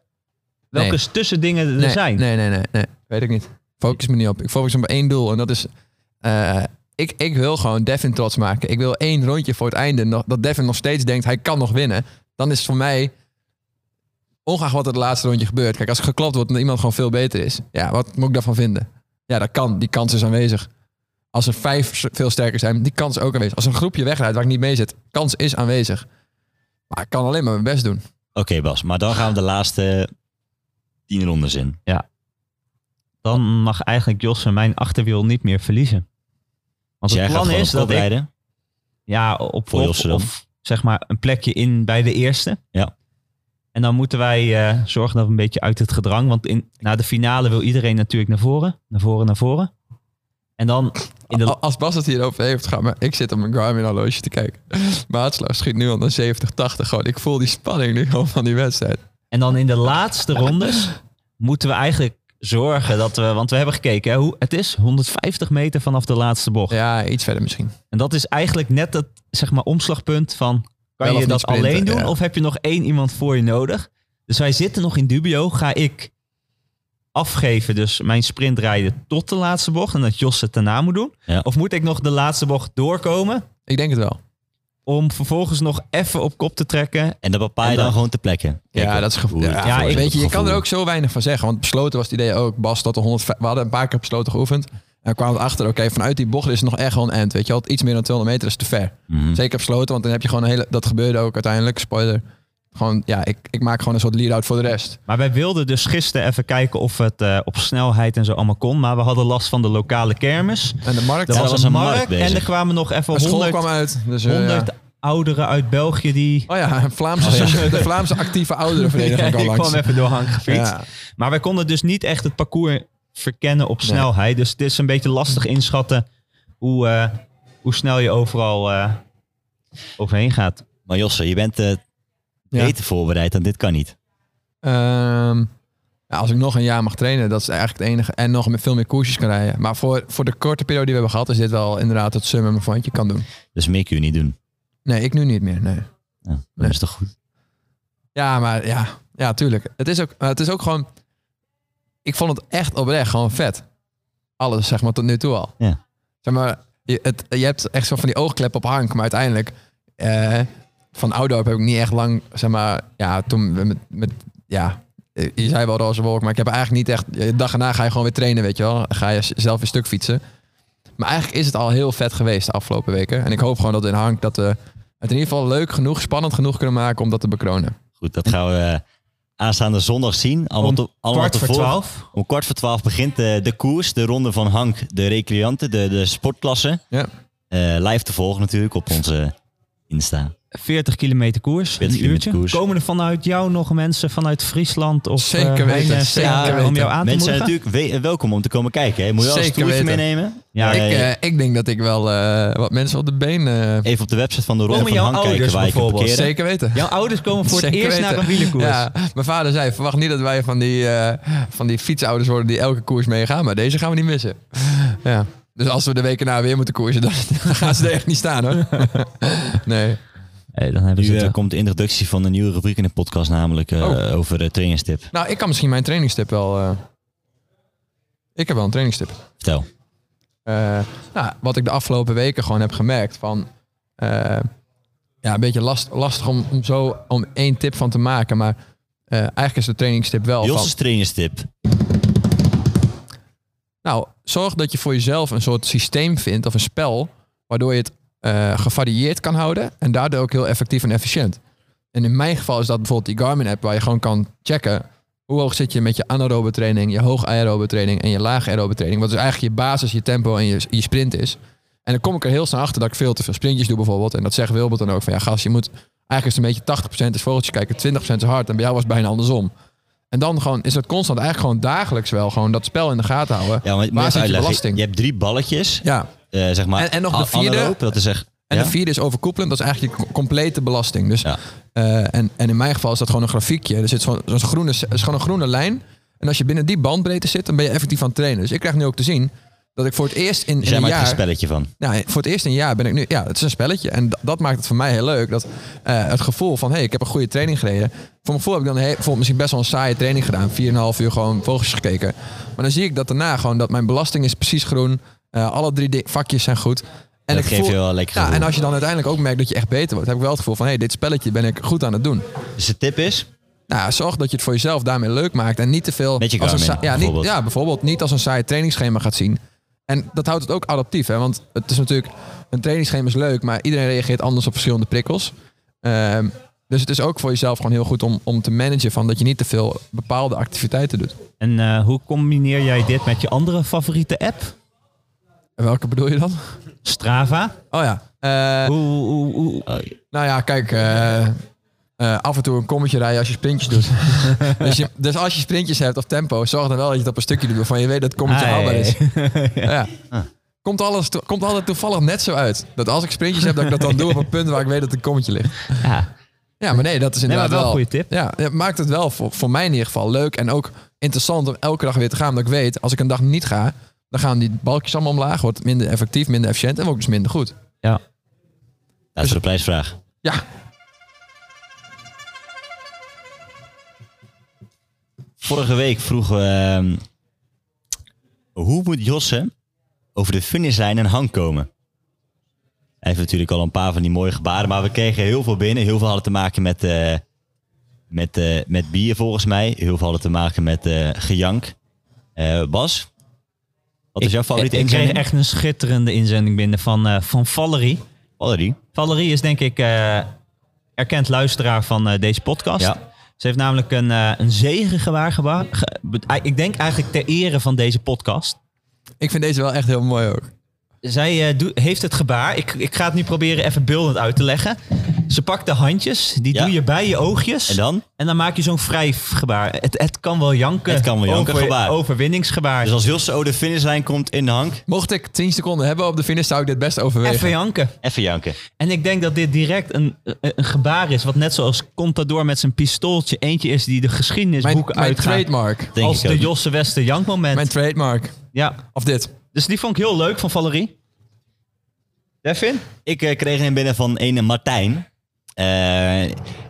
C: welke
A: Nee.
C: tussendingen er
A: nee,
C: zijn?
A: Nee, nee, nee, nee. Weet ik niet. Focus me niet op. Ik focus me op één doel. En dat is... eh, ik, ik wil gewoon Devin trots maken. Ik wil één rondje voor het einde. nog- Dat Devin nog steeds denkt, hij kan nog winnen. Dan is het voor mij... Ongeacht wat het laatste rondje gebeurt. Kijk, als er geklopt wordt en iemand gewoon veel beter is. Ja, wat moet ik daarvan vinden? Ja, dat kan. Die kans is aanwezig. Als er vijf s- veel sterker zijn, die kans is ook aanwezig. Als een groepje wegrijdt waar ik niet mee zit, kans is aanwezig. Maar ik kan alleen maar mijn best doen.
B: Oké Bas, maar dan gaan we de laatste tien rondes in.
C: Dan mag eigenlijk Jos en mijn achterwiel niet meer verliezen. Want
B: Dus
C: het
B: jij gaat
C: plan
B: gewoon
C: is
B: op kop
C: dat ik
B: rijden.
C: ja, op
B: Voor
C: op-
B: Josse dan.
C: of zeg maar een plekje in bij de eerste.
B: Ja.
C: En dan moeten wij eh, zorgen dat we een beetje uit het gedrang. Want in, na de finale wil iedereen natuurlijk naar voren. Naar voren, naar voren. En dan in de,
A: Al- Als Bas het hierover heeft, ga maar. Ik zit op mijn Garmin horloge te kijken. Maatslag schiet nu al naar 70, 80. Gewoon. Ik voel die spanning nu gewoon van die wedstrijd.
C: En dan in de laatste rondes moeten we eigenlijk zorgen dat we... Want we hebben gekeken, hè, hoe, het is 150 meter vanaf de laatste bocht.
A: Ja, iets verder misschien.
C: En dat is eigenlijk net het zeg maar, omslagpunt van... Kan
A: Wel
C: je
A: of
C: dat
A: niet sprinten,
C: alleen doen
A: ja.
C: of heb je nog één iemand voor je nodig? Dus wij zitten nog in dubio. Ga ik afgeven, dus mijn sprint rijden tot de laatste bocht... en dat Jos het daarna moet doen?
B: Ja.
C: Of moet ik nog de laatste bocht doorkomen...
A: Ik denk het wel.
C: om vervolgens nog even op kop te trekken...
B: En dat bepaal je
C: En
B: dan,
C: dan-
B: gewoon te plekken.
A: ja, dat is gevoel.
B: gevoel.
A: Ja,
C: ja, ik-
A: weet je, je kan er ook zo weinig van zeggen. Want besloten was het idee ook. Bas, dat de 100, we hadden een paar keer op besloten geoefend. En we kwamen achter, oké, vanuit die bocht is het nog echt wel een end. Weet je, wel. iets meer dan 200 meter is te ver.
B: Mhm. Hm.
A: Zeker op sloten, want dan heb je gewoon een hele... Dat gebeurde ook uiteindelijk, spoiler. Gewoon, ja, ik, ik maak gewoon een soort lead-out voor de rest.
C: Maar wij wilden dus gisteren even kijken of het eh, op snelheid en zo allemaal kon. Maar we hadden last van de lokale kermis.
A: En de markt,
C: Er
B: Ja,
A: de
C: was,
B: was
C: een
B: een
C: markt
B: markt bezig.
C: en er kwamen nog even
A: school
C: 100,
A: kwam uit. Dus, eh, ja.
C: 100 ouderen uit België die...
A: Oh ja, Vlaamse, de Vlaamse actieve ouderenvereniging
C: Ja,
A: kwam
C: die
A: langs.
C: kwam even door Hank gefietst.
A: Ja.
C: Maar wij konden dus niet echt het parcours verkennen op snelheid. Dus het is een beetje lastig inschatten hoe, eh, hoe snel je overal eh, overheen gaat.
B: Maar Josse, je bent eh, beter voorbereid dan dit kan niet.
A: Ehm, ja, als ik nog een jaar mag trainen, dat is eigenlijk het enige. En nog met veel meer koersjes kan rijden. Maar voor, voor de korte periode die we hebben gehad, is dit wel inderdaad het summum van wat je kan doen.
B: Dus meer kun je niet doen.
A: Nee, ik nu niet meer. Nee.
B: Ja, dat
A: Nee.
B: is toch goed.
A: Ja, maar ja, ja tuurlijk. Het is, ook, maar het is ook gewoon. Ik vond het echt oprecht gewoon vet. Alles, zeg maar, tot nu toe al.
B: Ja.
A: Zeg maar, je, het, je hebt echt zo van die oogklep op Hank, maar uiteindelijk. eh, van Oudorp heb ik niet echt lang, zeg maar. Ja, toen we met. met ja, eh, je zei wel roze wolk, maar ik heb eigenlijk niet echt. De dag erna ga je gewoon weer trainen, weet je wel. Ga je z- zelf weer stuk fietsen. Maar eigenlijk is het al heel vet geweest de afgelopen weken. En ik hoop gewoon dat in Hank dat we het in ieder geval leuk genoeg, spannend genoeg kunnen maken om dat te bekronen.
B: Goed, dat gaan we eh, aanstaande zondag zien. Allemaal
C: Om
B: te- allemaal
C: kwart
B: te
C: voor
B: volgen.
C: twaalf.
B: Om kwart voor twaalf begint eh, de koers. De ronde van Hank, de recreanten, de, de sportklasse.
A: Ja.
B: Eh, live te volgen natuurlijk op onze Insta.
C: 40 kilometer koers,
B: 40
C: een
B: kilometer
C: uurtje.
B: koers.
C: Komen er vanuit jou nog mensen vanuit Friesland of
A: Zeker
C: eh,
A: weten,
C: Rijnland,
A: zeker
C: ja, om
A: weten.
C: jou aan te
B: Mensen zijn
C: moedigen?
B: natuurlijk we- eh, welkom om te komen kijken. Hè. Moet je wel een
A: Zeker
B: stoeltje
A: weten.
B: meenemen?
C: Ja,
B: Eh,
A: Ik, eh, ik denk dat ik wel eh, wat mensen op de been eh,
B: even op de website van de Ronde
C: Komen
B: van
C: jouw
B: Hank kijken
C: ouders
B: waar je kunt
C: bijvoorbeeld?
B: parkeren.
A: zeker weten.
C: Jouw ouders komen voor het
A: Zeker
C: eerst
A: weten.
C: naar een wielerkoers.
A: Ja, mijn vader zei, verwacht niet dat wij van die, eh, van die fietsouders worden die elke koers meegaan, maar deze gaan we niet missen. Ja. Dus als we de weken na weer moeten koersen, dan, dan gaan ze er echt niet staan hoor. Nee.
C: Hey, dan hebben
B: Nu
C: ze
B: eh,
C: het.
B: komt de introductie van een nieuwe rubriek in de podcast, namelijk eh,
A: Oh.
B: over de trainingstip.
A: Nou, ik kan misschien mijn trainingstip wel... eh, ik heb wel een trainingstip.
B: Vertel.
A: Eh, nou, wat ik de afgelopen weken gewoon heb gemerkt van... eh, ja, een beetje last, lastig om, om zo om één tip van te maken, maar... eh, Eh, eigenlijk is de trainingstip wel van...
B: Josse's trainingstip.
A: Nou, zorg dat je voor jezelf een soort systeem vindt of een spel waardoor je het eh, gevarieerd kan houden en daardoor ook heel effectief en efficiënt. En in mijn geval is dat bijvoorbeeld die Garmin app waar je gewoon kan checken hoe hoog zit je met je anaerobe training, je hoog aerobe training en je laag aerobe training. Wat dus eigenlijk je basis, je tempo en je, je sprint is. En dan kom ik er heel snel achter dat ik veel te veel sprintjes doe bijvoorbeeld. En dat zegt Wilbert dan ook van ja gast, je moet eigenlijk is het een beetje 80% is vogeltje kijken, 20% is hard. En bij jou was het bijna andersom. En dan gewoon is dat constant eigenlijk gewoon dagelijks wel gewoon dat spel in de gaten houden.
B: Ja, maar, maar
A: Waar
B: even
A: zit je
B: uitleggen.
A: belasting?
B: Je hebt drie balletjes,
A: Ja,
B: eh, zeg maar.
A: En- en nog de
B: a-
A: vierde.
B: anaerob, dat is echt...
A: en
B: ja?
A: de vierde is overkoepelend. Dat is eigenlijk je co- complete belasting. Dus,
B: Ja.
A: eh, en, en in mijn geval is dat gewoon een grafiekje. Er zit zo'n zo'n groene, er is gewoon een groene lijn. En als je binnen die bandbreedte zit, dan ben je effectief aan het trainen. Dus ik krijg nu ook te zien dat ik voor het eerst in,
B: Dus
A: in
B: jij
A: een
B: maakt er een
A: jaar...
B: spelletje van.
A: Nou, voor het eerst in een jaar ben ik nu... Ja, het is een spelletje. En d- dat maakt het voor mij heel leuk. Dat, eh, het gevoel van, hé, hey, ik heb een goede training gereden. Voor mijn gevoel heb ik dan he- bijvoorbeeld misschien best wel een saaie training gedaan. 4,5 uur gewoon vogels gekeken. Maar dan zie ik dat daarna gewoon dat mijn belasting is precies groen. Eh, alle drie di- vakjes zijn goed. En
B: dat
A: ik
B: geeft
A: voel-
B: je wel een lekker
A: ja,
B: gevoel.
A: en als je dan uiteindelijk ook merkt dat je echt beter wordt, heb ik wel het gevoel van hé, hey, dit spelletje ben ik goed aan het doen.
B: Dus de tip is,
A: Nou, ja, zorg dat je het voor jezelf daarmee leuk maakt en niet te veel.
B: Met je
A: als een
B: Garmin,
A: ja,
B: bijvoorbeeld.
A: Niet, ja, bijvoorbeeld niet als een saai trainingsschema gaat zien. En dat houdt het ook adaptief, hè? want het is natuurlijk een trainingsschema is leuk, maar iedereen reageert anders op verschillende prikkels. Ehm, dus het is ook voor jezelf gewoon heel goed om, om te managen van dat je niet te veel bepaalde activiteiten doet.
C: En eh, hoe combineer jij dit met je andere favoriete app?
A: En welke bedoel je dan?
C: Strava?
A: Oh ja. eh,
C: Hoe, hoe, hoe-
B: Oh,
A: Nou ja, kijk. eh, eh, af en toe een kommetje rijden als je sprintjes doet. dus, je, dus als je sprintjes hebt of tempo, zorg dan wel dat je het op een stukje doet waarvan je weet dat het kommetje
C: Hey.
A: haalbaar is. ja. Komt, alles, to- komt altijd toevallig net zo uit. Dat als ik sprintjes heb, dat ik dat dan doe op een punt waar ik weet dat het kommetje ligt.
C: Ja.
A: Ja, maar nee, dat is
C: Nee, maar
A: inderdaad
C: wel een
A: wel...
C: goede tip.
A: Ja, het maakt het wel voor, voor mij in ieder geval leuk en ook interessant om elke dag weer te gaan. Omdat ik weet, als ik een dag niet ga, dan gaan die balkjes allemaal omlaag. Wordt het minder effectief, minder efficiënt en ook dus minder goed.
C: Ja.
B: dat is
A: Dus
B: voor de prijsvraag.
A: Ja.
B: Vorige week vroegen we, ehm, hoe moet Josse over de finishlijn en hang komen? Hij heeft natuurlijk al een paar van die mooie gebaren, maar we kregen heel veel binnen. Heel veel hadden te maken met, eh, met, eh, met bier volgens mij. Heel veel hadden te maken met eh, gejank. Eh, Bas, wat is jouw favoriete
C: ik kreeg
B: inzending?
C: echt een schitterende inzending binnen van, eh, van Valerie.
B: Valerie.
C: Valerie is denk ik eh, erkend luisteraar van eh, deze podcast.
B: Ja.
C: Ze heeft namelijk een, eh, een zegen gewaar. gewa- ge- be- ah, ik denk eigenlijk ter ere van deze podcast.
A: Ik vind deze wel echt heel mooi ook.
C: Zij eh, doe- heeft het gebaar. Ik, ik ga het nu proberen even beeldend uit te leggen. Ze pakt de handjes, die
B: Ja.
C: doe je bij je oogjes.
B: En dan?
C: En dan maak je zo'n wrijfgebaar. Het, het kan wel janken.
B: Het kan wel janken
C: Over-
B: gebaar.
C: Overwinningsgebaar.
B: Dus als Josse over de finishlijn komt in de hang,
A: Mocht ik 10 seconden hebben op de finish, zou ik dit best overwegen.
C: Even janken.
B: even janken.
C: En ik denk dat dit direct een, een een gebaar is. Wat net zoals Contador met zijn pistooltje eentje is die de
A: mijn
C: geschiedenisboeken
A: mijn
C: uitgaat.
A: trademark.
B: Denk
C: Als
B: ik
C: de
B: ook.
C: Josse Wester Jank moment.
A: Mijn trademark.
C: Ja.
A: Of dit.
C: Dus die vond ik heel leuk van Valerie. Devin?
B: Ik eh, kreeg een binnen van ene Martijn. Eh,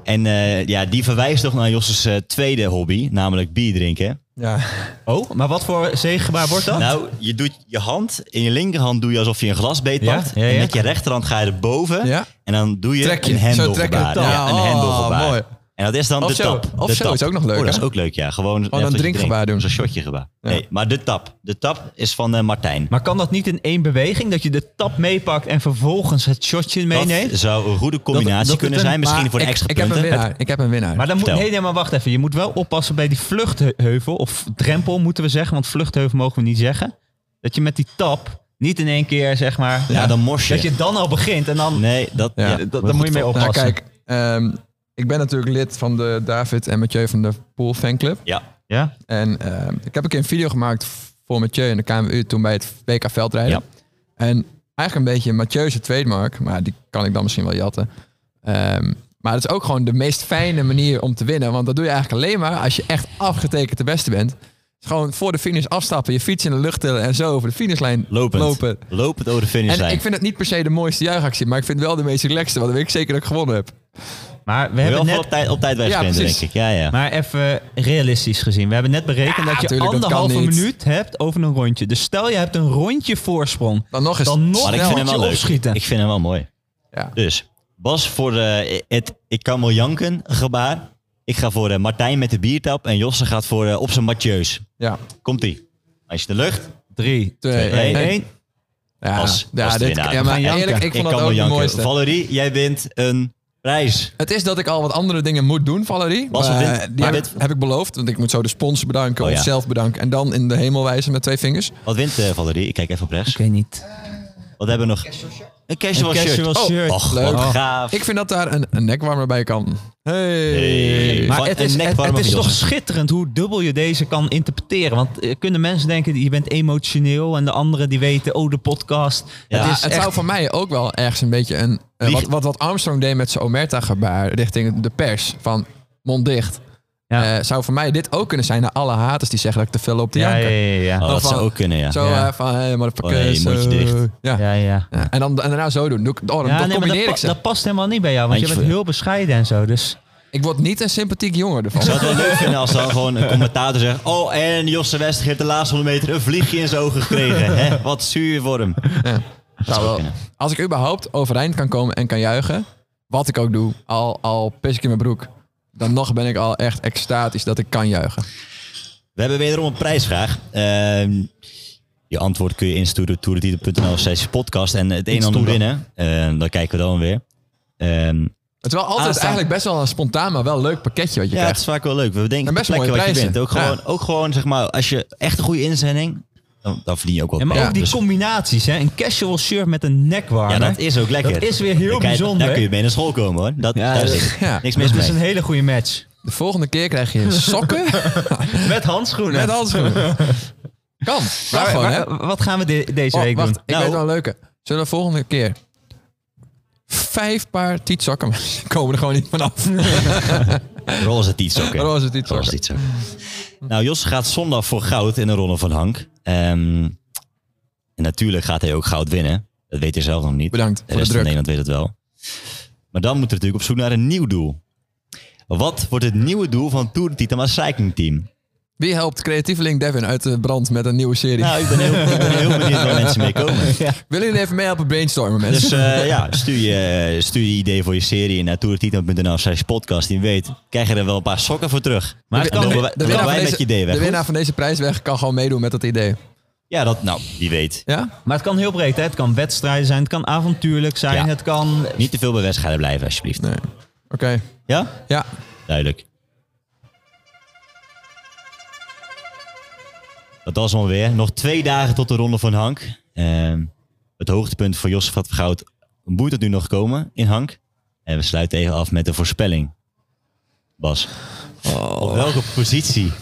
B: en eh, ja, die verwijst toch naar Josse's eh, tweede hobby, namelijk bier drinken.
A: Ja.
C: Oh, maar wat voor zegenbaar wordt dat?
B: Nou, je doet je hand, in je linkerhand doe je alsof je een glas
C: Ja,
B: beetpakt.
C: ja, ja.
B: En met je rechterhand ga je erboven.
A: Ja.
B: En dan doe je,
A: Trek je.
B: een
A: Zo
B: hendelgebaar.
A: trek je het
B: Ja,
A: dan.
B: een
A: Oh,
B: hendelgebaar.
A: mooi.
B: En dat is dan
A: Of zo.
B: de tap.
A: Of
B: de
A: zo
B: tap.
A: is ook nog leuk,
B: Oh, dat is
A: hè?
B: ook leuk, ja. Gewoon net
A: een
B: wat je
A: drinkgebaar
B: drinkt.
A: doen.
B: Zo'n shotje gebaar. Nee, maar de tap. De tap is van eh, Martijn.
C: Maar kan dat niet in één beweging? Dat je de tap meepakt en vervolgens het shotje meeneemt?
B: Dat zou een goede combinatie
C: dat het
B: kunnen
C: een-
B: zijn. Misschien voor de
A: ik,
B: extra
A: ik heb een
B: punten.
A: winnaar. Ik heb een winnaar.
C: Maar dan moet,
B: Vertel.
C: nee, nee, maar wacht even. Je moet wel oppassen bij die vluchtheuvel, of drempel moeten we zeggen, want vluchtheuvel mogen we niet zeggen. Dat je met die tap niet in één keer, zeg maar,
B: Ja, dan mors je.
C: dat je dan al begint en dan...
B: Nee, dat...
A: Ja.
B: ja,
C: dat-
B: dat
C: daar moet je mee
A: nou,
C: oppassen.
A: kijk. ehm, ik ben natuurlijk lid van de David en Mathieu van de Pool fanclub.
B: ja.
C: Ja?
A: En ehm, ik heb een keer een video gemaakt voor Mathieu in de KMU toen bij het WK veldrijden.
B: Ja.
A: En eigenlijk een beetje Mathieu's trademark, maar die kan ik dan misschien wel jatten. Ehm, maar het is ook gewoon de meest fijne manier om te winnen. Want dat doe je eigenlijk alleen maar als je echt afgetekend de beste bent. Dus gewoon voor de finish afstappen, je fiets in de lucht tillen en zo over de finishlijn
B: Lopend.
A: lopen.
B: Lopend over de finish
A: En
B: zijn.
A: ik vind het niet per se de mooiste juichactie, maar ik vind het wel de meest relaxte, want dan weet ik zeker dat ik gewonnen heb.
C: Maar we
B: wel
C: hebben
B: net...
C: net...
B: op tijd, op tijd wegsprint,
A: precies.
B: denk ik. Ja, ja.
C: Maar even realistisch gezien. We hebben net berekend dat je
A: tuurlijk, dat kan
C: anderhalve
A: niet.
C: minuut hebt over een rondje. Dus stel je hebt een rondje voorsprong.
A: Dan nog eens.
C: Dan nog
B: maar ik
C: snel
B: vind hem wel
C: je
B: leuk.
C: opschieten.
B: Ik vind hem wel mooi.
A: Ja.
B: Dus, Bas voor eh, het ik kan wel janken gebaar. Ik ga voor eh, Martijn met de biertap en Josse gaat voor eh, op zijn Mathieu's.
A: Ja,
B: Komt-ie. Als je de lucht.
C: 3,
A: Twee,
B: één.
C: 2, 1.
A: ja,
B: Bas-
A: ja,
B: Bas de
A: dit,
B: winnaar.
A: ja maar
C: Gaan janken.
A: eerlijk, ik
B: ik
A: vond
B: kan
A: dat
B: wel
A: ook de
B: janken.
A: mooiste.
B: Valerie, jij wint een prijs.
A: Het is dat ik al wat andere dingen moet doen, Valerie.
B: Bas,
A: maar, eh,
B: wat wint-
A: die
B: maar
A: heb,
B: dit-
A: heb ik beloofd. Want ik moet zo de sponsor bedanken,
B: Oh, ja.
A: onszelf bedanken. En dan in de hemel wijzen met twee vingers.
B: Wat wint eh, Valerie? Ik kijk even op rechts.
C: weet niet.
B: Wat hebben we nog? Een casual
C: Een
B: shirt.
C: casual
B: Oh,
C: shirt.
B: Och,
A: Leuk.
B: wat
A: Oh.
B: gaaf.
A: Ik vind dat daar een, een nekwarmer bij kan.
B: Hey.
A: Hey.
C: Maar
B: Van
C: het
B: een
C: is, het,
B: nekwarme
C: het is
B: van
C: toch
B: Josse.
C: schitterend hoe dubbel je deze kan interpreteren. Want eh, kunnen mensen denken, je bent emotioneel. En de anderen die weten, oh de podcast.
B: Ja,
A: Ja,
C: het
A: het
C: is echt,
A: zou voor mij ook wel ergens een beetje een... eh,
B: Wie-
A: wat, wat, wat Armstrong deed met zijn Omerta-gebaar richting de pers. Van mond dicht.
C: Ja.
A: Eh, zou voor mij dit ook kunnen zijn naar alle haters die zeggen dat ik te veel op te
C: ja, ja,
A: janken.
C: ja, ja.
B: Oh, dat zou
A: van-
B: ook kunnen, ja.
A: Zo
C: Ja.
A: eh, van, hé, hey, motherfuckers.
B: Oh, nee, mondje
A: eh,
B: dicht.
A: Ja.
C: ja, ja.
A: Ja, En, dan, en daarna zo doen. Doe ik- Oh, dan,
C: Ja,
A: dan
C: nee, maar
A: combineer ik
C: dat,
A: ze.
C: pa- dat past helemaal niet bij jou, want
B: Eentje
C: je bent
B: voor
C: heel bescheiden en zo. Dus
A: Ik word niet een sympathiek jongen ervan.
B: Ik zou het wel leuk vinden als dan gewoon een commentator zegt... Oh, en Josse Wester heeft de laatste 100 meter een vliegje in zijn ogen gekregen. Hè? Wat zuur voor hem.
A: Zou wel-
B: kunnen.
A: Als ik überhaupt overeind kan komen en kan juichen, wat ik ook doe, al, al pis ik in mijn broek, dan nog ben ik al echt extatisch dat ik kan juichen.
B: We hebben wederom een prijsvraag. Ehm, je antwoord kun je insturen op toeretieter.nl slash podcast. En het een en ander
C: Insturen.
B: winnen. Ehm, dan kijken we dan weer. Ehm,
A: Het is wel altijd
B: Aanstaan.
A: eigenlijk best wel een spontaan, maar wel leuk pakketje wat je
B: ja, het
A: krijgt.
B: is vaak wel leuk. We denken
A: En best
B: best plekken
A: mooie
B: wat je
A: prijzen.
B: wint. Ook
A: Ja.
B: gewoon, ook gewoon, zeg maar, als je echt een goede inzending... Dan, dan verdien je ook wel
C: Ja, maar
B: prijs.
C: ook die
B: Dus-
C: combinaties, hè? Een casual shirt met een nekwarmer.
B: ja, dat is ook lekker.
C: Dat is weer heel
B: Dan kan je-
C: bijzonder.
B: Daar kun je mee naar school komen hoor. Dat,
C: Ja,
B: daar
C: dat-
B: zit
A: ja.
B: niks mis
C: Dat is
B: mee.
C: een hele goede match.
A: De volgende keer krijg je sokken
C: Met handschoenen.
A: met handschoenen. Kan. Mag gewoon, hè?
C: Wat gaan we de- deze
A: Oh,
C: week
A: wacht,
C: doen?
A: ik
B: Nou.
A: weet wel een leuke. Zullen we volgende keer vijf paar tietzakken... Die komen er gewoon niet vanaf.
B: Roze tietsokken.
A: Roze
B: Roze
A: tietzakken.
B: tietsokken. Nou, Jos gaat zondag voor goud in de ronde van Hank. Ehm, en natuurlijk gaat hij ook goud winnen. Dat weet hij zelf nog niet.
A: Bedankt
B: de
A: voor de
B: rest van
A: druk.
B: Nederland weet het wel. Maar dan moeten we natuurlijk op zoek naar een nieuw doel. Wat wordt het nieuwe doel van Tour de Titama Cycling Team?
A: Wie helpt creatieveling Devin uit de brand met een nieuwe serie?
B: Nou, ik ben heel, ik ben heel benieuwd waar mensen mee komen.
A: Willen jullie even mee helpen brainstormen, mensen?
B: Dus eh, ja, stuur je, stuur je idee voor je serie naar toertito.nl slash podcast. Die weet, krijg je er wel een paar sokken voor terug.
C: Maar het
B: En
C: kan-
B: lopen wij,
A: de
B: lopen
A: winnaar,
B: wij
A: van
B: met
A: deze,
B: je idee weg.
A: de
B: hoor.
A: winnaar van deze prijsweg kan gewoon meedoen met dat idee.
B: Ja, dat, nou, wie weet.
A: Ja?
C: Maar het kan heel breed, hè? Het kan wedstrijden zijn, het kan avontuurlijk zijn,
B: Ja.
C: het kan...
B: Niet te veel bij wedstrijden blijven, alsjeblieft.
A: Nee. Oké.
B: Ja?
A: Ja.
B: Duidelijk. Dat was hem alweer. Nog twee dagen tot de ronde van Hank. Ehm, het hoogtepunt voor Josefat Goud moet het nu nog komen in Hank. En we sluiten even af met de voorspelling. Bas,
A: Oh.
B: op welke positie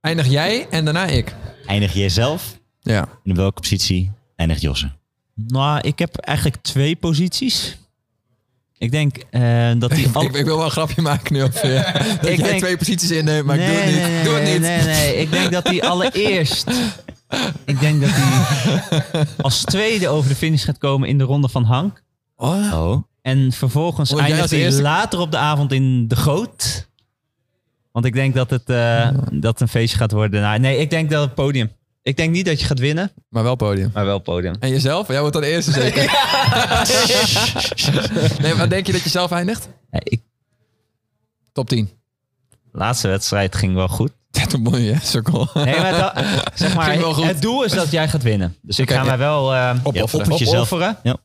A: Eindig jij en daarna ik.
B: eindig jij zelf?
A: Ja.
B: En op welke positie eindigt Josse?
C: Nou, ik heb eigenlijk twee posities. Ik denk eh, dat die... al-
A: Ik, ik wil wel een grapje maken nu. Of, ja, dat jij
C: Ik denk-
A: twee posities inneemt, maar ik doe het niet.
C: Nee,
A: doe het
C: nee,
A: niet.
C: Nee, nee, ik denk dat hij allereerst. Ik denk dat hij als tweede over de finish gaat komen in de ronde van Hank.
A: Oh,
B: Oh,
C: En vervolgens
A: Oh, jij
C: eindigt
A: als
C: hij
A: eerste-
C: later op de avond in de goot. Want ik denk dat het eh, dat het een feestje gaat worden. Nou, nee, ik denk dat het podium. Ik denk niet dat je gaat winnen,
A: Maar wel podium.
C: maar wel podium.
A: En jezelf? Jij wordt dan de eerste zeker. nee, maar denk je dat je zelf eindigt?
C: Ja, ik,
A: Top 10.
C: laatste wedstrijd ging wel goed.
A: Ja, Top mooi, hè? Sukkel.
C: Nee, maar, dat- zeg maar
A: Ging wel goed.
C: het doel is dat jij gaat winnen. Dus ik
A: Oké,
C: ga
A: ja.
C: mij wel eh,
B: ja,
A: Opofferen.
B: op het jezelf.
C: opofferen.
B: Ja.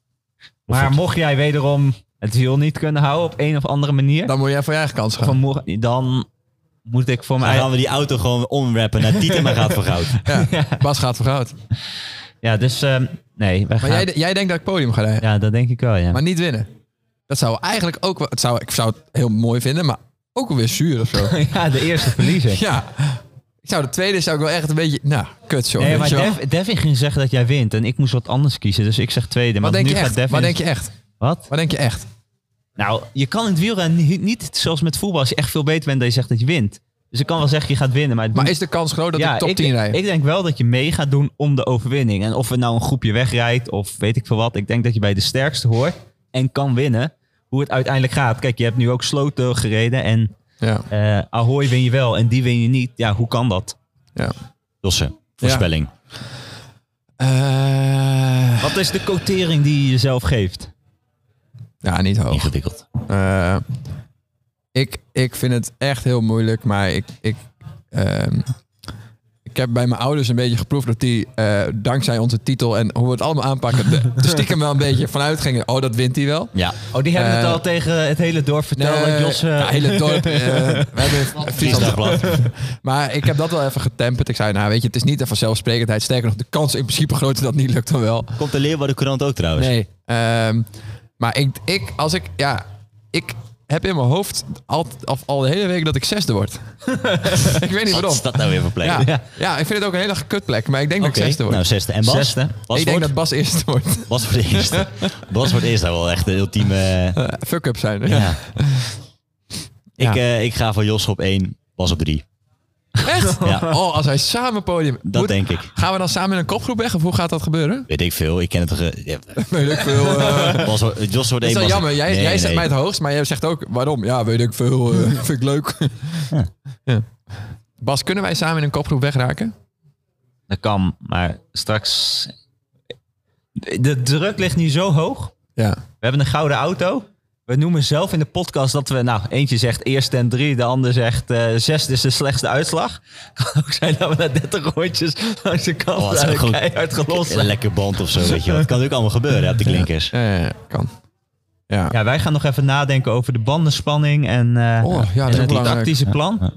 C: Maar mocht jij wederom het wiel niet kunnen houden op een of andere manier,
A: Dan moet jij voor je eigen kans gaan.
C: van morgen- dan moet ik voor
B: Dan
C: mij.
B: gaan we die auto gewoon omrappen naar Tieten, maar gaat voor goud.
A: Ja. Bas gaat voor goud.
C: Ja, dus ehm, nee, wij
A: Maar
C: gaan.
A: jij, jij denkt dat ik podium ga rijden?
C: Ja, dat denk ik wel. Ja.
A: Maar niet winnen. Dat zou eigenlijk ook wel... Het zou, ik zou het heel mooi vinden, maar ook wel weer zuur of zo.
C: ja, de eerste verliezer.
A: ja. Ik zou de tweede zou ik wel echt een beetje... Nou, kut zo.
C: Nee,
A: weet
C: maar
A: je wel.
C: Dev, Devin ging zeggen dat jij wint en ik moest wat anders kiezen, dus ik zeg tweede.
A: wat
C: maar
A: denk
C: nu
A: je
C: gaat
A: echt?
C: Devin.
A: Wat denk je echt?
C: Wat?
A: Wat denk je echt?
C: Nou, je kan in het wielrennen niet, niet zoals met voetbal, als je echt veel beter bent, dat je zegt dat je wint. Dus ik kan wel zeggen je gaat winnen, maar het
A: Maar is de kans groot dat ik top 10 rijd?
C: Hm. Ik denk wel dat je mee gaat doen om de overwinning. En of er nou een groepje wegrijdt of weet ik veel wat. Ik denk dat je bij de sterkste hoort en kan winnen. Hoe het uiteindelijk gaat. Kijk, je hebt nu ook Sloten gereden en
A: Ja.
C: eh Ahoy win je wel en die win je niet. Ja, hoe kan dat?
A: ja.
B: Josse, voorspelling.
A: Eh,
C: Wat is de quotering die je jezelf geeft?
A: ja, niet hoog.
B: Ingewikkeld.
A: Eh, ik, ik vind het echt heel moeilijk, maar ik, ik, ehm, ik heb bij mijn ouders een beetje geproefd dat die, eh, dankzij onze titel en hoe we het allemaal aanpakken, de, de stiekem wel een beetje vanuit gingen. Oh, dat wint hij wel.
B: Ja.
C: Oh, die hebben het
A: Eh,
C: al tegen het hele dorp verteld.
A: Nee,
C: dat Jos, eh,
A: ja, hele dorp. eh, we hebben Friesland.
B: Friesdagblad.
A: Maar ik heb dat wel even getemperd. Ik zei, nou weet je, het is niet een vanzelfsprekendheid. Sterker nog, de kans in principe groot is dat het niet lukt dan wel.
B: Komt de Leeuwarden Courant ook trouwens?
A: Nee. ehm, maar ik, ik, als ik, ja, ik heb in mijn hoofd al, al, al de hele week dat ik zesde word. ik weet niet
B: Wat
A: waarom.
B: is dat nou weer voor plek?
A: Ja,
C: Ja.
A: ja. ik vind het ook een hele kutplek, maar ik denk dat
B: Oké,
A: ik zesde word.
B: nou zesde. En Bas?
C: Zesde.
B: Bas,
A: ik
B: wordt,
A: denk dat Bas eerste wordt.
B: Bas wordt de eerste. Bas wordt eerst nou wel echt de ultieme... eh,
A: Eh, Fuck-up zijn.
B: ja.
A: Ja.
B: Ik,
A: Ja.
B: eh, ik ga voor Jos op één, Bas op drie.
A: Echt?
B: Ja.
A: Oh, als wij samen podium...
B: Dat
A: Moet-
B: denk ik.
A: Gaan we dan samen in een kopgroep weg of hoe gaat dat gebeuren?
B: Weet ik veel. Ik ken het... ge- Ja,
A: Weet ik veel. eh.
B: Bas, wordt- Jos wordt
A: Dat is
B: één,
A: wel
B: Bas-
A: jammer. Jij,
B: Nee,
A: jij
B: nee,
A: zegt mij
B: nee.
A: het hoogst, maar jij zegt ook waarom. Ja, weet ik veel. eh, vind ik leuk.
B: Ja.
A: Ja. Bas, kunnen wij samen in een kopgroep wegraken?
C: Dat kan, maar straks... De druk ligt nu zo hoog.
A: Ja.
C: We hebben een gouden auto. We noemen zelf in de podcast dat we... Nou, eentje zegt eerste en drie. De ander zegt eh zesde is de slechtste uitslag. kan ook zijn dat we na 30 rondjes langs de kant
B: Oh, dat zou
C: zijn
B: gewoon-
C: keihard gelost
B: Een
C: zijn.
B: lekker band of zo, weet je wel. Het kan natuurlijk allemaal gebeuren op de klinkers.
A: Eh, kan. Ja.
C: Ja, wij gaan nog even nadenken over de bandenspanning en, eh,
A: Oh, ja, dat is ook
C: en het
A: belangrijk.
C: tactische plan.
B: ja.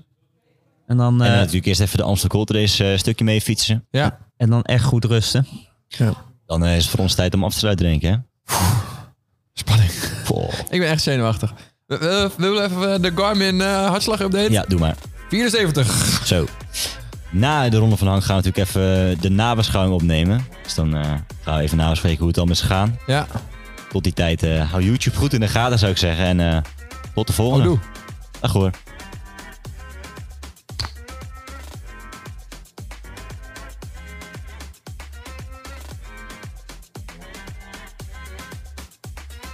C: En, dan,
B: En
C: eh,
B: dan natuurlijk eerst even de Amsterdam Cold Race eh, stukje mee fietsen.
A: Ja.
C: en dan echt goed rusten.
B: Dan eh, is het voor ons tijd om af te sluiten, denk ik, hè?
A: Spanning.
B: Poh.
A: Ik ben echt zenuwachtig. We, we- we willen even eh, de Garmin eh, hartslag-update.
B: Ja, doe maar.
A: 74.
B: Zo. Na de Ronde van Hang gaan we natuurlijk even eh, de nabeschouwing opnemen. Dus dan eh, gaan we even nabespreken hoe het allemaal is gegaan.
A: Ja.
B: Tot die tijd, eh, hou YouTube goed in de gaten, zou ik zeggen. En eh, tot de
A: Oh,
B: volgende.
A: doe.
B: Dag hoor.